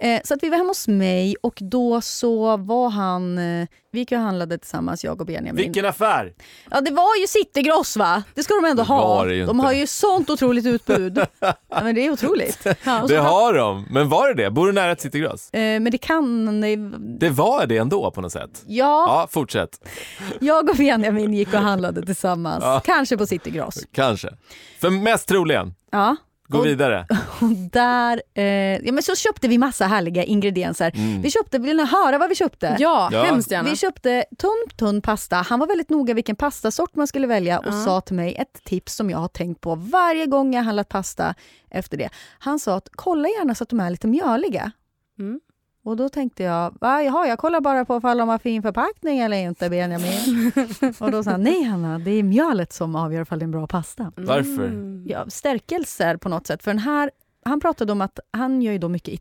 [SPEAKER 1] det. Eh, så att vi var hemma hos mig och då så var han, eh, vi gick och handlade tillsammans, jag och Benjamin.
[SPEAKER 2] Vilken affär!
[SPEAKER 1] Ja, det var ju Citygross va? Det ska de ändå
[SPEAKER 2] Det
[SPEAKER 1] ha.
[SPEAKER 2] var det ju
[SPEAKER 1] De
[SPEAKER 2] inte.
[SPEAKER 1] har ju sånt otroligt utbud. ja, men det är otroligt. Och så-
[SPEAKER 2] Det har de, men var det det? Bor du nära ett Citygross?
[SPEAKER 1] eh, men det kan...
[SPEAKER 2] Det var det ändå på något sätt.
[SPEAKER 1] Ja,
[SPEAKER 2] Ja, fortsätt.
[SPEAKER 1] jag och Benjamin gick och handlade tillsammans. Kanske på Citygross.
[SPEAKER 2] Kanske. För mest troligen,
[SPEAKER 1] Ja.
[SPEAKER 2] gå
[SPEAKER 1] Och- Mm.
[SPEAKER 2] vidare.
[SPEAKER 1] Och där, eh, ja, men så köpte vi massa härliga ingredienser. Vi köpte, vill ni höra vad vi köpte?
[SPEAKER 3] Ja,
[SPEAKER 2] Ja.
[SPEAKER 3] hemskt gärna.
[SPEAKER 1] Vi köpte tunn, tunn pasta. Han var väldigt noga vilken pastasort man skulle välja och sa till mig ett tips som jag har tänkt på varje gång jag handlat pasta efter det. Han sa att kolla gärna så att de är lite mjöliga.
[SPEAKER 3] Mm.
[SPEAKER 1] Och då tänkte jag, va, jaha, jag kollar bara på ifall de har fin förpackning eller inte Benjamin. och då sa han, nej Hanna, det är mjölet som avgör ifall det är en bra pasta
[SPEAKER 2] Varför?
[SPEAKER 1] ja, stärkelser på något sätt. För den här, han pratade om att han gör ju då mycket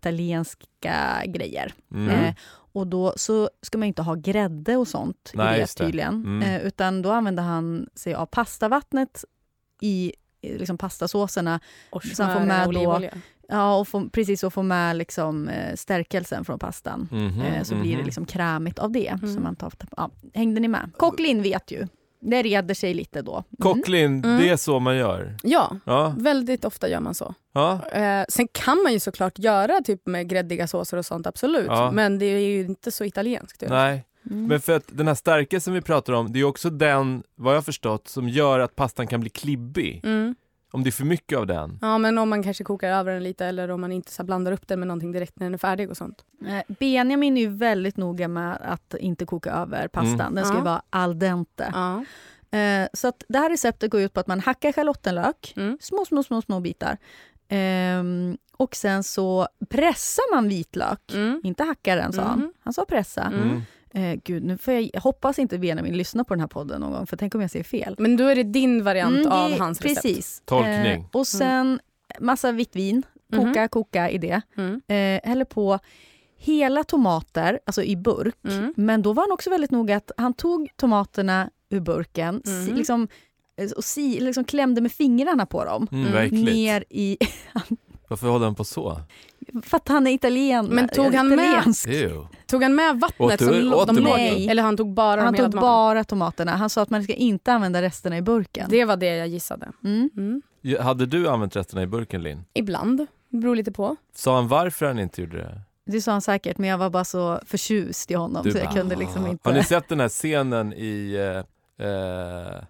[SPEAKER 1] italienska grejer.
[SPEAKER 2] Mm.
[SPEAKER 1] Eh, och då så ska man ju inte ha grädde och sånt
[SPEAKER 2] Nej,
[SPEAKER 1] i det
[SPEAKER 2] just det.
[SPEAKER 1] tydligen.
[SPEAKER 2] Mm.
[SPEAKER 1] Eh, utan då använde han sig av pastavattnet i liksom pastasåserna.
[SPEAKER 3] Och
[SPEAKER 1] Sen får
[SPEAKER 3] smör,
[SPEAKER 1] med då-
[SPEAKER 3] olivolja.
[SPEAKER 1] Ja, och få, precis och få med liksom, eh, stärkelsen från pastan.
[SPEAKER 2] Mhm,
[SPEAKER 1] Eh, så blir det
[SPEAKER 2] mhm.
[SPEAKER 1] liksom krämigt av det.
[SPEAKER 3] Mm.
[SPEAKER 1] Så man tar, ja, hängde ni med? Kocklin vet ju. Det reder sig lite då. Mm.
[SPEAKER 2] Cochlin,
[SPEAKER 3] Mm.
[SPEAKER 2] det är så man gör.
[SPEAKER 3] Ja,
[SPEAKER 2] Ja,
[SPEAKER 3] väldigt ofta gör man så.
[SPEAKER 1] Mm.
[SPEAKER 2] ja.
[SPEAKER 3] Eh, sen kan man ju såklart göra typ med gräddiga såser och sånt, absolut.
[SPEAKER 2] Ja.
[SPEAKER 3] Men det är ju inte så italienskt. det.
[SPEAKER 2] Nej,
[SPEAKER 1] Mm.
[SPEAKER 2] men för att den här stärkelsen vi pratar om, det är ju också den, vad jag har förstått, som gör att pastan kan bli klibbig.
[SPEAKER 3] Mm.
[SPEAKER 2] Om det är för mycket av den.
[SPEAKER 3] Ja, men om man kanske kokar över den lite eller om man inte så här blandar upp den med någonting direkt när den är färdig och sånt.
[SPEAKER 1] Eh, Benjamin är ju väldigt noga med att inte koka över pastan.
[SPEAKER 2] Mm.
[SPEAKER 1] Den ska ju
[SPEAKER 3] Ja.
[SPEAKER 1] vara al dente.
[SPEAKER 3] Ja.
[SPEAKER 1] Eh, så att det här receptet går ut på att man hackar schalottenlök,
[SPEAKER 3] Mm.
[SPEAKER 1] små, små, små, små bitar. Ehm, och sen så pressar man vitlök.
[SPEAKER 3] Mm.
[SPEAKER 1] Inte hackar den, sa han.
[SPEAKER 3] Mhm.
[SPEAKER 1] Han sa pressa.
[SPEAKER 3] Mm.
[SPEAKER 1] Eh, gud, nu får jag, jag hoppas inte Benjamin lyssnar på den här podden någon gång, för tänk om jag säger fel.
[SPEAKER 3] Men då är det din variant
[SPEAKER 1] Mm, det-
[SPEAKER 3] av hans recept. Mm.
[SPEAKER 1] Precis.
[SPEAKER 2] Tolkning.
[SPEAKER 1] Eh, och sen massa vitt vin, koka,
[SPEAKER 3] Mhm.
[SPEAKER 1] koka i det.
[SPEAKER 3] Mm.
[SPEAKER 1] Eh, häller på hela tomater, alltså i burk.
[SPEAKER 3] Mm.
[SPEAKER 1] Men då var han också väldigt noga att han tog tomaterna ur burken si,
[SPEAKER 3] Mhm.
[SPEAKER 1] liksom, eh, och si, liksom klämde med fingrarna på dem.
[SPEAKER 2] Mm,
[SPEAKER 3] Mm.
[SPEAKER 2] vad äckligt.
[SPEAKER 1] Ner i...
[SPEAKER 2] Varför håller han på så?
[SPEAKER 1] För att han är italien.
[SPEAKER 3] Men tog han med-
[SPEAKER 1] italiensk.
[SPEAKER 2] Ew.
[SPEAKER 3] Tog han med
[SPEAKER 2] Åt
[SPEAKER 3] vattnet
[SPEAKER 2] du-
[SPEAKER 3] som lo-
[SPEAKER 2] åt
[SPEAKER 3] de
[SPEAKER 2] du
[SPEAKER 3] låg
[SPEAKER 1] maten?
[SPEAKER 3] i? Eller han tog bara
[SPEAKER 1] Han
[SPEAKER 3] de
[SPEAKER 1] tog
[SPEAKER 3] hela tomaterna?
[SPEAKER 1] bara tomaterna. Han sa att man ska inte använda resterna i burken.
[SPEAKER 3] Det var det jag gissade.
[SPEAKER 1] Mm.
[SPEAKER 3] Mm.
[SPEAKER 2] Ja, Hade du använt resterna i burken, Linn?
[SPEAKER 3] Ibland. Det beror lite på.
[SPEAKER 2] Sa han varför han inte gjorde det?
[SPEAKER 1] Det sa han säkert, men jag var bara så förtjust i honom
[SPEAKER 2] Du
[SPEAKER 1] så jag
[SPEAKER 2] bara,
[SPEAKER 1] kunde liksom
[SPEAKER 2] "Ah."
[SPEAKER 1] inte...
[SPEAKER 2] Har ni sett den här scenen i eh, eh,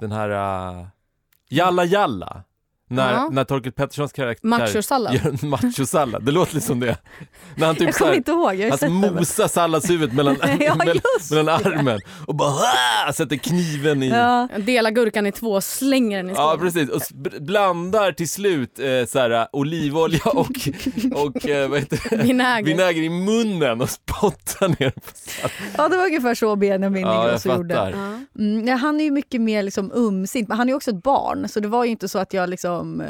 [SPEAKER 2] den här eh, Jalla Jalla? När,
[SPEAKER 3] Ja.
[SPEAKER 2] när Torkel Petterssons karaktär
[SPEAKER 3] Machosallad.
[SPEAKER 2] gör en machosallad. Det låter liksom det. När han typ
[SPEAKER 1] Jag
[SPEAKER 2] så
[SPEAKER 1] kommer
[SPEAKER 2] här,
[SPEAKER 1] inte ihåg, jag har ju
[SPEAKER 2] alltså
[SPEAKER 1] sett det. men-
[SPEAKER 2] mosar salladshuvudet mellan,
[SPEAKER 1] Ja,
[SPEAKER 2] mellan,
[SPEAKER 1] just
[SPEAKER 2] mellan
[SPEAKER 1] det.
[SPEAKER 2] armen och bara "Ah!" sätter kniven i.
[SPEAKER 1] Ja.
[SPEAKER 3] Delar gurkan i två och slänger den i
[SPEAKER 2] Ja
[SPEAKER 3] skålen.
[SPEAKER 2] precis, och sp- blandar till slut eh, så här, olivolja och, och eh, vad heter det?
[SPEAKER 3] Vinäger.
[SPEAKER 2] vinäger i munnen och spottar ner på
[SPEAKER 1] ja, det var ungefär så Benjamin
[SPEAKER 2] Ja, jag
[SPEAKER 1] Ingrosso gjorde.
[SPEAKER 2] fattar.
[SPEAKER 3] Ja.
[SPEAKER 1] Mm, ja, han är ju mycket mer liksom umsint, men han är ju också ett barn. Så det var ju inte så att jag liksom... Eh,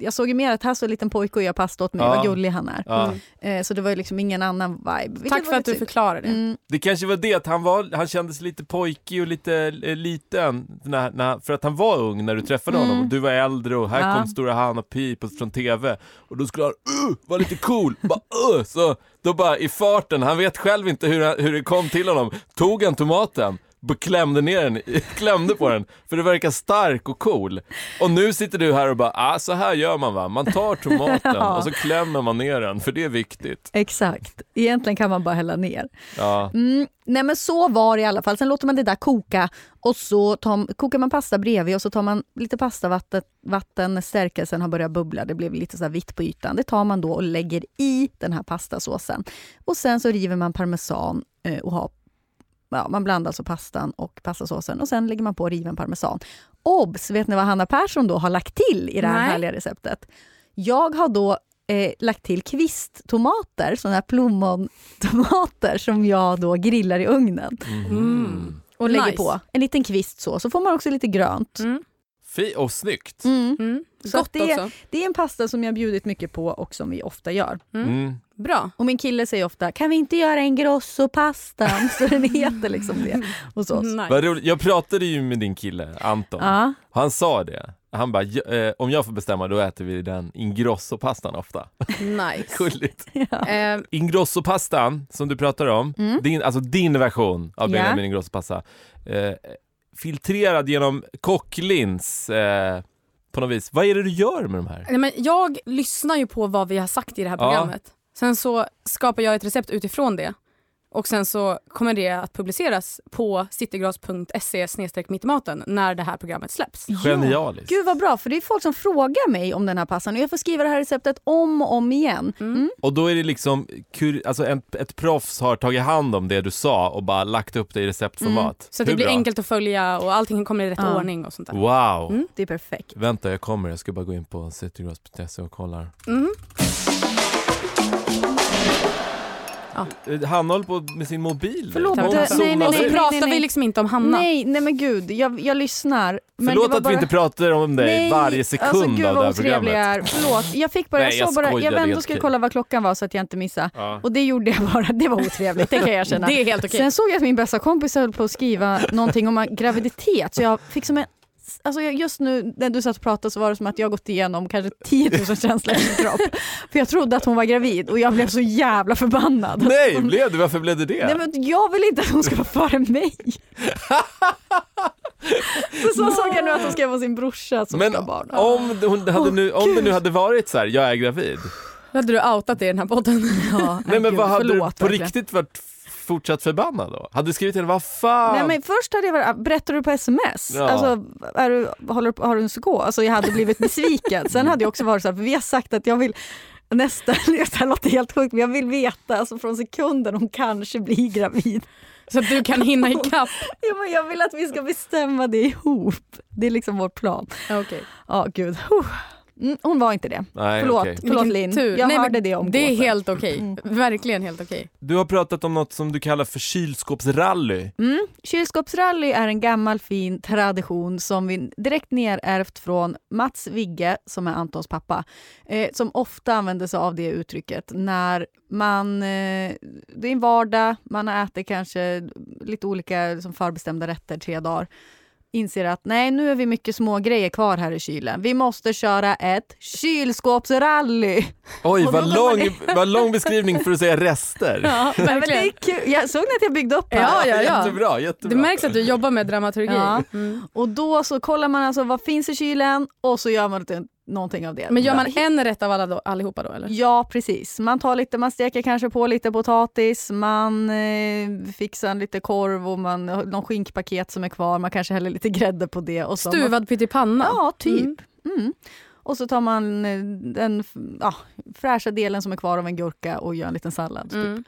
[SPEAKER 1] jag såg ju mer att här står en liten pojke och gör pasta åt mig,
[SPEAKER 2] Ja.
[SPEAKER 1] vad gullig han är.
[SPEAKER 2] Ja.
[SPEAKER 1] Eh, så det var ju liksom ingen annan vibe. vilket
[SPEAKER 3] Tack
[SPEAKER 1] var
[SPEAKER 3] för att du
[SPEAKER 1] lite synd.
[SPEAKER 3] förklarade det.
[SPEAKER 1] Mm,
[SPEAKER 2] Det kanske var det att han, var, han kändes lite pojkig och lite eh, liten när, när, för att han var ung när du träffade
[SPEAKER 1] Mm.
[SPEAKER 2] honom och du var äldre och här
[SPEAKER 1] Ja.
[SPEAKER 2] kom stora Hanna Pip och- från TV och då skulle han uh, vara lite cool, bara, uh, så då bara i farten, han vet själv inte hur, han, hur det kom till honom, tog han tomaten b- klämde ner den, i- klämde på den, för det verkar stark och cool. Och nu sitter du här och bara, ah, så här gör man va, man tar tomaten
[SPEAKER 1] Ja.
[SPEAKER 2] och så klämmer man ner den, för det är viktigt.
[SPEAKER 1] exakt. Egentligen kan man bara hälla ner.
[SPEAKER 2] Ja.
[SPEAKER 1] Mm, nej men så var det i alla fall. Sen låter man det där koka och så tar, kokar man pasta bredvid och så tar man lite pastavatten vatten när stärkelsen har börjat bubbla. Det blev lite så här vitt på ytan. Det tar man då och lägger i den här pastasåsen. Och sen så river man parmesan eh, och har Ja, man blandar alltså pastan och pastasåsen och sen lägger man på riven parmesan. Obs! Vet ni vad Hanna Persson då har lagt till i det här
[SPEAKER 3] Nej.
[SPEAKER 1] härliga receptet? Jag har då eh, lagt till kvisttomater, såna här plommontomater som jag då grillar i ugnen
[SPEAKER 3] Mm.
[SPEAKER 1] och lägger
[SPEAKER 3] Nice.
[SPEAKER 1] på. En liten kvist så, så får man också lite grönt.
[SPEAKER 3] Mm.
[SPEAKER 2] Fi och snyggt.
[SPEAKER 1] Mm.
[SPEAKER 3] Mm.
[SPEAKER 1] Så
[SPEAKER 3] Gott
[SPEAKER 1] det-
[SPEAKER 3] också.
[SPEAKER 1] Det är en pasta som jag bjudit mycket på och som vi ofta gör.
[SPEAKER 2] Mm.
[SPEAKER 3] Bra.
[SPEAKER 1] Och min kille säger ofta, kan vi inte göra en grossopasta? Så den heter liksom det hos oss.
[SPEAKER 3] Nice.
[SPEAKER 2] Vad roligt. Jag pratade ju med din kille Anton.
[SPEAKER 1] Ja.
[SPEAKER 2] Han sa det. Han bara, "Ja, eh, om jag får bestämma då äter vi den Ingrosso-pastan ofta.
[SPEAKER 3] nice.
[SPEAKER 2] Gulligt.
[SPEAKER 3] Eh,
[SPEAKER 2] Ingrosso-pastan som du pratar om,
[SPEAKER 1] Mm.
[SPEAKER 2] din, alltså din version av
[SPEAKER 1] Ja.
[SPEAKER 2] Benjamin Ingrosso-pasta. Eh, filtrerad genom Kocklins eh, på något vis. Vad är det du gör med de här?
[SPEAKER 3] nej, men jag lyssnar ju på vad vi har sagt i det här
[SPEAKER 2] Ja.
[SPEAKER 3] programmet. Sen så skapar jag ett recept utifrån det. Och sen så kommer det att publiceras på citygross.se mittimaten när det här programmet släpps.
[SPEAKER 2] Mm. Genialiskt.
[SPEAKER 1] Gud vad bra, för det är folk som frågar mig om den här pastan och jag får skriva det här receptet om och om igen. Mm.
[SPEAKER 2] Och då är det liksom, kur- alltså en, ett proffs har tagit hand om det du sa och bara lagt upp det i receptformat.
[SPEAKER 3] Så att det
[SPEAKER 2] Hur
[SPEAKER 3] blir
[SPEAKER 2] bra? Oh.
[SPEAKER 3] enkelt att följa och allting kommer i rätt
[SPEAKER 1] Ja.
[SPEAKER 3] ordning och sånt där.
[SPEAKER 2] Wow.
[SPEAKER 1] Det är perfekt.
[SPEAKER 2] Vänta, jag kommer. Jag ska bara gå in på citygross.se och kollar.
[SPEAKER 1] Mm-hmm.
[SPEAKER 3] Mm.
[SPEAKER 2] Eh, Hanna håller på med sin mobil.
[SPEAKER 1] Förlåt,
[SPEAKER 2] Hon
[SPEAKER 1] det- nej,
[SPEAKER 2] zonar
[SPEAKER 1] nej,
[SPEAKER 3] Nu
[SPEAKER 1] nej,
[SPEAKER 2] sig.
[SPEAKER 1] nej,
[SPEAKER 3] pratar
[SPEAKER 1] nej.
[SPEAKER 3] vi liksom inte om Hanna.
[SPEAKER 1] Nej, nej men gud, jag, jag lyssnar. Men det
[SPEAKER 2] Förlåt
[SPEAKER 1] var
[SPEAKER 2] att vi inte pratar om dig
[SPEAKER 1] Nej,
[SPEAKER 2] varje sekund
[SPEAKER 1] alltså, gud,
[SPEAKER 2] av det
[SPEAKER 1] vad
[SPEAKER 2] här
[SPEAKER 1] otrevlig
[SPEAKER 2] programmet.
[SPEAKER 1] jag är. Förlåt, jag fick bara,
[SPEAKER 2] Nej,
[SPEAKER 1] jag
[SPEAKER 2] jag
[SPEAKER 1] såg bara,
[SPEAKER 2] skojar,
[SPEAKER 1] jag
[SPEAKER 2] det är
[SPEAKER 1] vände
[SPEAKER 2] helt
[SPEAKER 1] och skulle
[SPEAKER 2] okej.
[SPEAKER 1] kolla vad klockan var så att jag inte missade.
[SPEAKER 2] Ja.
[SPEAKER 1] Och det gjorde jag bara, det var otrevligt, det kan jag erkänna.
[SPEAKER 3] Det är helt okej.
[SPEAKER 1] Sen såg jag att min bästa kompis höll på att skriva någonting om graviditet så jag fick som en alltså jag- just nu när du satt och pratade så var det som att jag gått igenom kanske 10 000 känslor i min kropp. För jag trodde att hon var gravid och jag blev så jävla förbannad.
[SPEAKER 2] Nej, blev du? Varför blev du det?
[SPEAKER 1] Nej, men jag vill inte att hon ska vara före mig. så så såg jag nu att hon ska vara sin brorsa som
[SPEAKER 2] Men
[SPEAKER 1] ska ha barn.
[SPEAKER 2] om, det- hon hade nu, om det nu hade varit så här, jag är gravid.
[SPEAKER 3] Då hade du outat det i den här podden.
[SPEAKER 1] Ja,
[SPEAKER 2] Nej men
[SPEAKER 1] gud,
[SPEAKER 2] vad hade
[SPEAKER 1] förlåt,
[SPEAKER 2] du på
[SPEAKER 1] verkligen.
[SPEAKER 2] riktigt varit fortsatt förbannad då? Hade du skrivit till henne, vad fan?
[SPEAKER 1] Nej, men först hade jag varit, berättar du på sms?
[SPEAKER 2] Ah. Ja.
[SPEAKER 1] Alltså, är du, håller, du- har du en psykos? Alltså, jag hade blivit besviken. Sen hade jag också varit så här, för vi har sagt att jag vill nästan, det här låter helt sjukt, men jag vill veta alltså, från sekunden hon kanske blir gravid.
[SPEAKER 3] Så att du kan hinna ikapp.
[SPEAKER 1] Ja, men jag vill att vi ska bestämma det ihop. Det är liksom vår plan.
[SPEAKER 3] Ja, Okej.
[SPEAKER 1] Ja, gud. Huh. Mm, hon var inte det.
[SPEAKER 2] Nej,
[SPEAKER 1] Förlåt,
[SPEAKER 2] okej.
[SPEAKER 1] förlåt
[SPEAKER 3] Vilken
[SPEAKER 1] Linn.
[SPEAKER 3] tur.
[SPEAKER 1] Jag
[SPEAKER 3] Nej, men
[SPEAKER 1] hörde det Mm. om
[SPEAKER 3] Det är
[SPEAKER 1] gåsen.
[SPEAKER 3] helt okej. Verkligen helt okej.
[SPEAKER 2] Du har pratat om något som du kallar för kylskåpsrally.
[SPEAKER 1] Kylskåpsrally är en gammal fin tradition som vi direkt nerärvt från Mats Vigge, som är Antons pappa, eh, som ofta använder sig av det uttrycket när man... Eh, det är en vardag, man äter kanske lite olika liksom förbestämda rätter tre dagar inser att nej, nu är vi mycket små grejer kvar här i kylen. Vi måste köra ett kylskåpsrally.
[SPEAKER 2] Oj,
[SPEAKER 1] Och då
[SPEAKER 2] vad
[SPEAKER 1] går man
[SPEAKER 2] lång, vad lång beskrivning för att säga rester.
[SPEAKER 3] Ja,
[SPEAKER 1] Men det är
[SPEAKER 3] verkligen.
[SPEAKER 1] kul. Jag såg ni att jag byggde upp här?
[SPEAKER 3] Ja, ja, ja.
[SPEAKER 2] Jättebra, jättebra.
[SPEAKER 3] Det märks att du jobbar med dramaturgi.
[SPEAKER 1] Ja.
[SPEAKER 3] Mm.
[SPEAKER 1] Och då så kollar man alltså vad finns i kylen och så gör man lite någonting av det.
[SPEAKER 3] Men gör man en rätt av alla då, allihopa då eller?
[SPEAKER 1] Ja, precis. Man tar lite, man steker kanske på lite potatis, man eh, fixar lite korv och man har någon skinkpaket som är kvar. Man kanske häller lite grädde på det. Och så
[SPEAKER 3] Stuvad pyttipanna.
[SPEAKER 1] Man, ja, typ.
[SPEAKER 3] Mm.
[SPEAKER 1] Mm. Och så tar man eh, den f- ja, fräscha delen som är kvar av en gurka och gör en liten sallad. Typ.
[SPEAKER 3] Mm.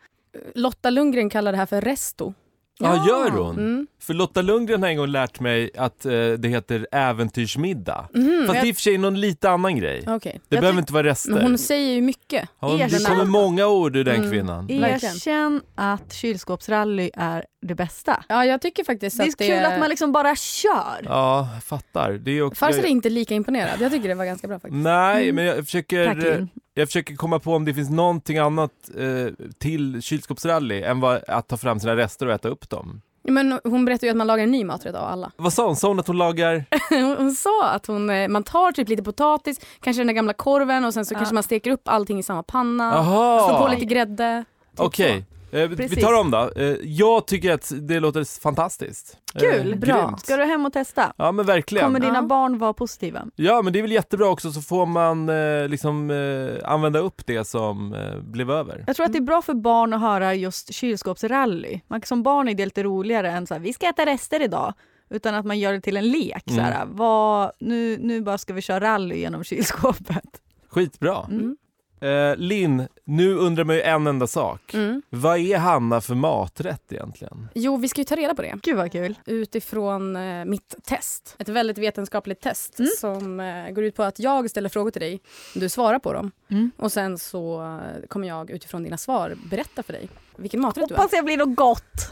[SPEAKER 3] Lotta Lundgren kallar det här för resto.
[SPEAKER 2] Ja, gör hon?
[SPEAKER 3] Mm.
[SPEAKER 2] För Lotta Lundgren har en gång lärt mig att eh, det heter äventyrsmiddag.
[SPEAKER 3] Mhm,
[SPEAKER 2] Fast det är i och för sig någon lite annan grej. Det
[SPEAKER 3] Okej.
[SPEAKER 1] Jag
[SPEAKER 2] behöver
[SPEAKER 1] tyck-
[SPEAKER 2] inte vara rester.
[SPEAKER 3] Men hon säger ju mycket.
[SPEAKER 2] Hon, det
[SPEAKER 1] Erkänn.
[SPEAKER 2] kommer många ord ur den
[SPEAKER 3] Mm.
[SPEAKER 2] kvinnan.
[SPEAKER 3] Verkligen.
[SPEAKER 1] Erkänn att kylskåpsrally är det bästa.
[SPEAKER 3] Ja, jag tycker faktiskt
[SPEAKER 1] Det är
[SPEAKER 3] att det
[SPEAKER 1] kul att man liksom bara kör.
[SPEAKER 2] Ja, jag fattar. Det är också,
[SPEAKER 3] Farzad är
[SPEAKER 2] jag,
[SPEAKER 3] inte lika imponerad. Jag tycker det var ganska bra faktiskt.
[SPEAKER 2] nej, men jag
[SPEAKER 1] Tack,
[SPEAKER 2] försöker, eh,
[SPEAKER 1] Linn.
[SPEAKER 2] jag försöker komma på om det finns någonting annat eh, till kylskåpsrally än vad, att ta fram sina rester och äta upp dem.
[SPEAKER 3] Men hon berättade ju att man lagar en ny maträtt av alla.
[SPEAKER 2] Vad sa hon? Sa hon att hon lagar...
[SPEAKER 3] Hon, hon sa att hon, eh, man tar typ lite potatis, kanske den där gamla korven och sen så kanske man steker upp allting i samma panna. Slår på
[SPEAKER 2] Jaha!
[SPEAKER 3] lite grädde. typ
[SPEAKER 2] Okej, eh, vi- vi
[SPEAKER 1] Precis.
[SPEAKER 2] tar om då. Eh, jag tycker att det låter fantastiskt. Eh,
[SPEAKER 1] Kul,
[SPEAKER 3] bra.
[SPEAKER 2] grymt.
[SPEAKER 1] Ska du hem och testa?
[SPEAKER 2] Ja men verkligen.
[SPEAKER 1] Kommer dina
[SPEAKER 3] Ja.
[SPEAKER 1] barn vara positiva?
[SPEAKER 2] Ja men det är väl jättebra också så får man eh, liksom eh, använda upp det som eh, blev över.
[SPEAKER 1] Jag tror att det är bra för barn att höra just kylskåpsrally. Man, som barn är det lite roligare än så här, vi ska äta rester idag. Utan att man gör det till en lek. Så här, vad, nu, nu bara ska vi köra rally genom kylskåpet.
[SPEAKER 2] Skitbra.
[SPEAKER 1] Mm.
[SPEAKER 2] Eh, Linn, nu undrar man ju en enda sak.
[SPEAKER 3] så. Mm.
[SPEAKER 2] Vad är Hanna för maträtt egentligen?
[SPEAKER 3] Jo, vi ska ju ta reda på det.
[SPEAKER 1] Gud vad kul.
[SPEAKER 3] utifrån eh, mitt test. Ett väldigt vetenskapligt test som eh, går ut på att jag ställer frågor till dig, du svarar på dem.
[SPEAKER 1] Mm.
[SPEAKER 3] Och sen så eh, kommer jag utifrån dina svar berätta för dig vilken maträtt du
[SPEAKER 1] Hoppas
[SPEAKER 3] äter.
[SPEAKER 1] jag blir något gott.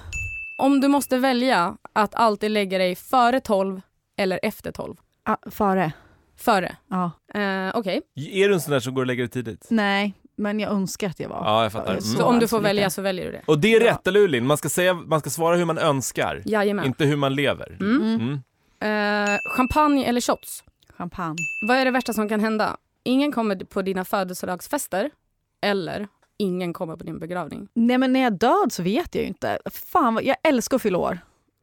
[SPEAKER 3] Om du måste välja att alltid lägga dig före 12 eller efter 12.
[SPEAKER 1] Ah, före.
[SPEAKER 3] Före.
[SPEAKER 1] Ja.
[SPEAKER 3] Eh, Okej,
[SPEAKER 2] Är du en sån där som går och lägger det tidigt?
[SPEAKER 1] Nej, men jag önskar att jag var.
[SPEAKER 2] Ja, jag fattar.
[SPEAKER 1] Så-
[SPEAKER 3] så
[SPEAKER 2] Mm.
[SPEAKER 3] om du
[SPEAKER 1] alltså
[SPEAKER 3] får
[SPEAKER 1] lite.
[SPEAKER 3] välja så väljer du det.
[SPEAKER 2] Och det är
[SPEAKER 3] Ja.
[SPEAKER 2] rätt, eller hur Linn? Man ska, säga, man ska svara hur man önskar,
[SPEAKER 3] Jajamän.
[SPEAKER 2] inte hur man lever.
[SPEAKER 3] Mm.
[SPEAKER 2] Mm.
[SPEAKER 3] Eh, champagne eller shots?
[SPEAKER 1] Champagne.
[SPEAKER 3] Vad är det värsta som kan hända? Ingen kommer på dina födelsedagsfester eller ingen kommer på din begravning.
[SPEAKER 1] Nej men när jag är död så vet jag ju inte. Fan, vad, jag älskar att fylla år.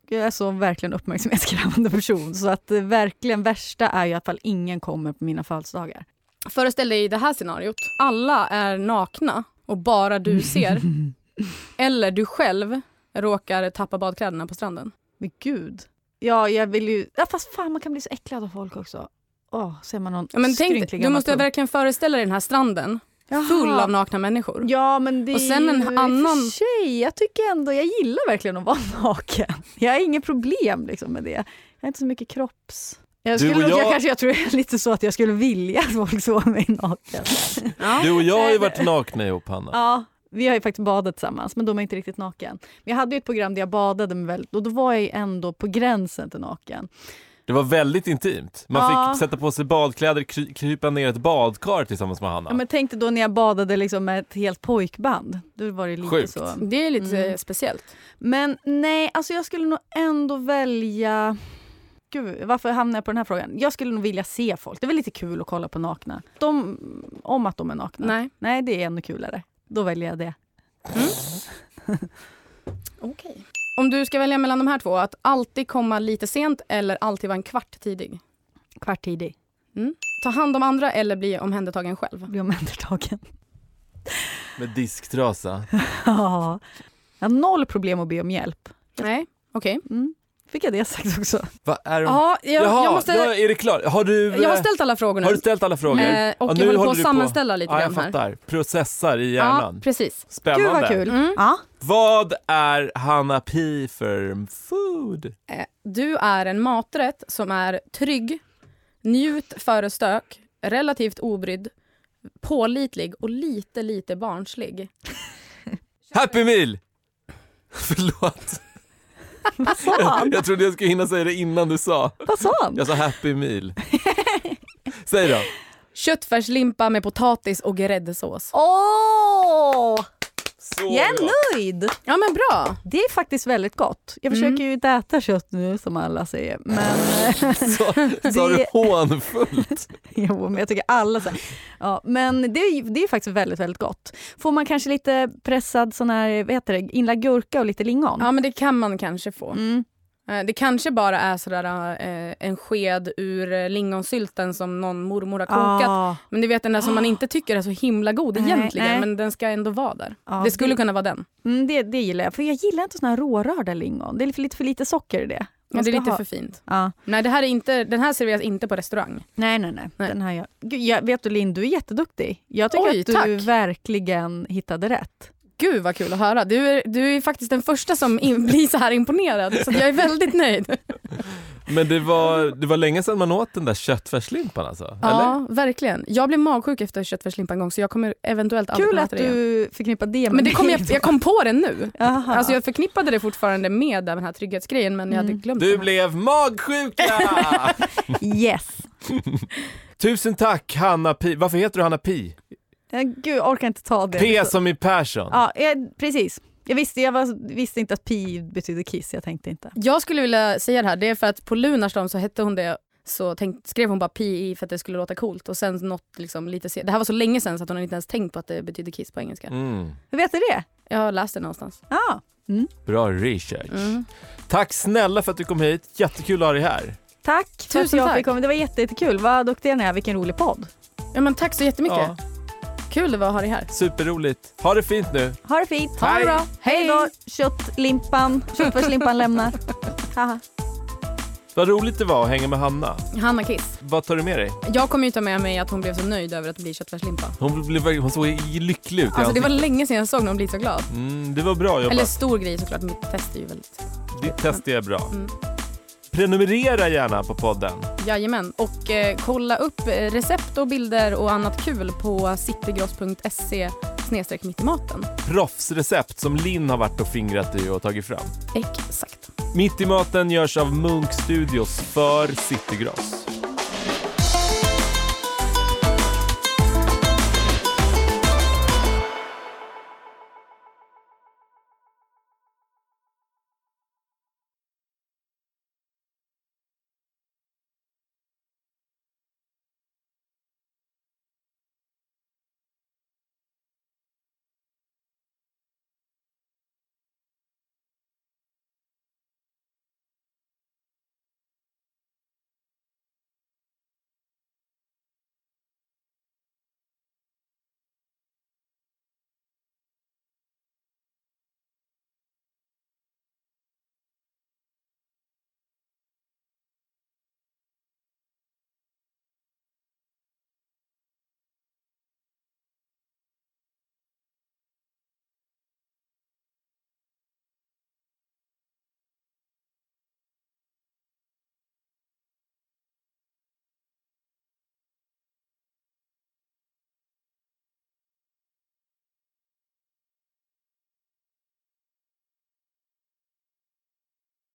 [SPEAKER 1] Jag är så verkligen uppmärksamhetskrävande person. Så att eh, verkligen värsta är ju att fall ingen kommer på mina födelsedagar.
[SPEAKER 3] Föreställ dig det här scenariot. Alla är nakna och bara du ser. Eller du själv råkar tappa badkläderna på stranden.
[SPEAKER 1] Men gud. Ja, jag vill ju... Ja, fast fan, man kan bli så äcklad av folk också. Åh, ser man någon
[SPEAKER 3] Ja, Men tänk,
[SPEAKER 1] skrynklig
[SPEAKER 3] du måste
[SPEAKER 1] gammal
[SPEAKER 3] verkligen föreställa dig den här stranden
[SPEAKER 1] tum.
[SPEAKER 3] full
[SPEAKER 1] Jaha.
[SPEAKER 3] av nakna människor.
[SPEAKER 1] Ja, men det
[SPEAKER 3] Och sen en
[SPEAKER 1] är ju- i och för
[SPEAKER 3] annan-
[SPEAKER 1] sig, jag tycker ändå, jag gillar verkligen att vara naken. Jag har inget problem liksom, med det. Jag har inte så mycket kropps... Jag,
[SPEAKER 2] Du
[SPEAKER 1] skulle,
[SPEAKER 2] och
[SPEAKER 1] nog- jag...
[SPEAKER 2] jag-
[SPEAKER 1] kanske jag tror jag är lite så att jag skulle vilja att folk såg mig naken.
[SPEAKER 2] Du och jag har ju varit nakna ihop Hanna.
[SPEAKER 1] Ja, vi har ju faktiskt badat tillsammans, men då är man inte riktigt naken. Men jag hade ju ett program där jag badade med väldigt, och då var jag ju ändå på gränsen till naken.
[SPEAKER 2] Det var väldigt intimt. Man
[SPEAKER 1] Ja.
[SPEAKER 2] fick sätta på sig badkläder, kry- krypa ner i ett badkar tillsammans med Hanna.
[SPEAKER 1] Ja, men tänk dig då när jag badade liksom med ett helt pojkband. Då var det lite
[SPEAKER 2] Sjukt.
[SPEAKER 1] så.
[SPEAKER 3] Det är
[SPEAKER 1] Mm.
[SPEAKER 3] lite eh, speciellt.
[SPEAKER 1] Men nej, alltså jag skulle nog ändå välja... gud, varför hamnar jag på den här frågan? Jag skulle nog vilja se folk. Det är väl lite kul att kolla på nakna. De, om att de är nakna.
[SPEAKER 3] Nej.
[SPEAKER 1] Nej, det är ännu kulare. Då väljer jag det.
[SPEAKER 3] Okej. Om du ska välja mellan de här två, att alltid komma lite sent eller alltid vara en kvart tidig?
[SPEAKER 1] Kvart tidig.
[SPEAKER 3] Ta hand om andra eller bli omhändertagen själv?
[SPEAKER 1] Bli omhändertagen.
[SPEAKER 2] Med disktrasa.
[SPEAKER 1] Ja. Jag har noll problem att be om hjälp. Mm.
[SPEAKER 3] Nej, okej.
[SPEAKER 1] Fick jag det sagt också?
[SPEAKER 2] Vad är de?
[SPEAKER 3] Ja, jag,
[SPEAKER 2] Jaha,
[SPEAKER 3] jag, måste,
[SPEAKER 2] då är det klart. Har du,
[SPEAKER 3] jag har
[SPEAKER 2] eh,
[SPEAKER 3] ställt alla frågor nu.
[SPEAKER 2] har du ställt alla frågor?
[SPEAKER 3] Eh, och
[SPEAKER 2] Ja,
[SPEAKER 3] jag
[SPEAKER 2] nu
[SPEAKER 3] håller på att
[SPEAKER 2] du
[SPEAKER 3] sammanställa lite
[SPEAKER 2] ja, jag
[SPEAKER 3] grann här.
[SPEAKER 2] fattar. Processar i
[SPEAKER 3] Ja,
[SPEAKER 2] hjärnan.
[SPEAKER 3] precis.
[SPEAKER 2] Spännande.
[SPEAKER 1] Gud vad kul. Ja.
[SPEAKER 2] Vad är Hanna Pi för food?
[SPEAKER 3] Eh, Du är en maträtt som är trygg, njut före stök, relativt obrydd, pålitlig och lite, lite barnslig.
[SPEAKER 2] Happy meal! Förlåt,
[SPEAKER 1] Vad sa han?
[SPEAKER 2] jag trodde jag skulle hinna säga det innan du sa.
[SPEAKER 1] Vad sa han?
[SPEAKER 2] Jag sa happy meal. Säg då.
[SPEAKER 3] Köttfärslimpa med potatis och gräddsås.
[SPEAKER 1] Åh!
[SPEAKER 2] Så
[SPEAKER 1] Jag
[SPEAKER 2] bra.
[SPEAKER 1] är nöjd!
[SPEAKER 3] Ja men bra!
[SPEAKER 1] Det är faktiskt väldigt gott. Jag försöker ju inte äta kött nu som alla säger. Men,
[SPEAKER 2] Sa, sa du
[SPEAKER 1] Det-
[SPEAKER 2] hånfullt?
[SPEAKER 1] jo, men jag tycker alla säger. Ja, men det är, ju- det är faktiskt väldigt, väldigt gott. Får man kanske lite pressad sån här, vad heter det, inlagd gurka och lite lingon?
[SPEAKER 3] Ja men det kan man kanske få.
[SPEAKER 1] Mm.
[SPEAKER 3] Eh, Det kanske bara är sådär, eh, en sked ur eh, lingonsylten som någon mormor har kokat.
[SPEAKER 1] Ah.
[SPEAKER 3] Men du vet den där som man inte tycker är så himla god
[SPEAKER 1] Nej,
[SPEAKER 3] egentligen
[SPEAKER 1] nej.
[SPEAKER 3] men den ska ändå vara där.
[SPEAKER 1] Ja,
[SPEAKER 3] det skulle
[SPEAKER 1] det-
[SPEAKER 3] kunna vara den.
[SPEAKER 1] Mm, det, det gillar jag, för jag gillar inte såna här rårörda lingon. Det är för lite för lite socker i det.
[SPEAKER 3] Men
[SPEAKER 1] Man
[SPEAKER 3] det är
[SPEAKER 1] ska
[SPEAKER 3] lite
[SPEAKER 1] ha-
[SPEAKER 3] för fint.
[SPEAKER 1] ja.
[SPEAKER 3] Nej, det här är inte, den här serveras inte på restaurang.
[SPEAKER 1] Nej, nej, nej.
[SPEAKER 3] Nej.
[SPEAKER 1] Den här jag. Gud, jag, vet du Linn, du är jätteduktig. Jag tycker
[SPEAKER 3] Oj,
[SPEAKER 1] att du
[SPEAKER 3] tack.
[SPEAKER 1] verkligen hittade rätt.
[SPEAKER 3] Gud vad kul att höra. Du är, du är faktiskt den första som in, blir så här imponerad. Så jag är väldigt nöjd.
[SPEAKER 2] Men det var, det var länge sedan man åt den där köttfärslimpan alltså? Eller?
[SPEAKER 3] Ja, verkligen. Jag blev magsjuk efter köttfärslimpa en gång så jag kommer eventuellt aldrig
[SPEAKER 1] Kul
[SPEAKER 3] kunna
[SPEAKER 1] att
[SPEAKER 3] äta det igen.
[SPEAKER 1] du förknippar det med
[SPEAKER 3] Men det kom
[SPEAKER 1] mig
[SPEAKER 3] jag,
[SPEAKER 1] då.
[SPEAKER 3] jag kom på det nu.
[SPEAKER 1] Aha.
[SPEAKER 3] Alltså jag förknippade det fortfarande med den här trygghetsgrejen men jag
[SPEAKER 1] Mm.
[SPEAKER 3] hade glömt
[SPEAKER 2] Du
[SPEAKER 3] den.
[SPEAKER 2] blev magsjuka!
[SPEAKER 1] Yes.
[SPEAKER 2] Tusen tack Hanna Pi. Varför heter du Hanna Pi?
[SPEAKER 1] Eh, Gud, jag orkar inte ta det.
[SPEAKER 2] P som i Persson.
[SPEAKER 1] Ja, eh, precis. Jag visste, jag var, visste inte att pi betyder kiss, jag tänkte inte.
[SPEAKER 3] Jag skulle vilja säga det här, det är för att på Lunarstorm så hette hon det så tänkt, skrev hon bara PI för att det skulle låta coolt och sen något liksom lite se- Det här var så länge sen så att hon inte ens tänkt på att det betyder kiss på engelska.
[SPEAKER 2] Mm.
[SPEAKER 1] Hur vet du det?
[SPEAKER 3] Jag har läst det någonstans.
[SPEAKER 1] Ja. Mm.
[SPEAKER 2] Bra research.
[SPEAKER 3] Mm.
[SPEAKER 2] Tack snälla för att du kom hit. Jättekul att ha dig här.
[SPEAKER 1] Tack för att
[SPEAKER 3] Tusen
[SPEAKER 1] jag
[SPEAKER 3] tack.
[SPEAKER 1] fick komma. Det var jätte- jättekul. Vad duktiga ni är. Vilken rolig podd.
[SPEAKER 3] Ja, men tack så jättemycket. Kul det var att ha dig här.
[SPEAKER 2] Superroligt. Ha det fint nu.
[SPEAKER 1] Ha det fint.
[SPEAKER 3] Ha det bra.
[SPEAKER 1] Hej då, köttlimpan. Köttfärslimpan lämnar. Haha.
[SPEAKER 2] Vad roligt det var att hänga med Hanna.
[SPEAKER 3] Hanna Kiss.
[SPEAKER 2] Vad tar du med dig?
[SPEAKER 3] Jag kommer ju ta med mig att hon blev så nöjd över att bli köttfärslimpa.
[SPEAKER 2] Hon, blev, verkligen- hon såg lycklig ut. i
[SPEAKER 3] Alltså det var
[SPEAKER 2] ansiktet.
[SPEAKER 3] länge sedan jag såg någon bli så glad.
[SPEAKER 2] mm, det var bra jobbat.
[SPEAKER 3] Eller stor grej såklart, mitt test är ju väldigt...
[SPEAKER 2] Ditt test är bra.
[SPEAKER 3] Mm.
[SPEAKER 2] Prenumerera gärna på podden.
[SPEAKER 3] Jajamän. Och eh, kolla upp eh, recept och bilder och annat kul på citygross.se snedstreck mitt i maten.
[SPEAKER 2] Proffsrecept som Linn har varit och fingrat i och tagit fram.
[SPEAKER 3] Exakt.
[SPEAKER 2] Mitt i maten görs av Munk Studios för Citygross.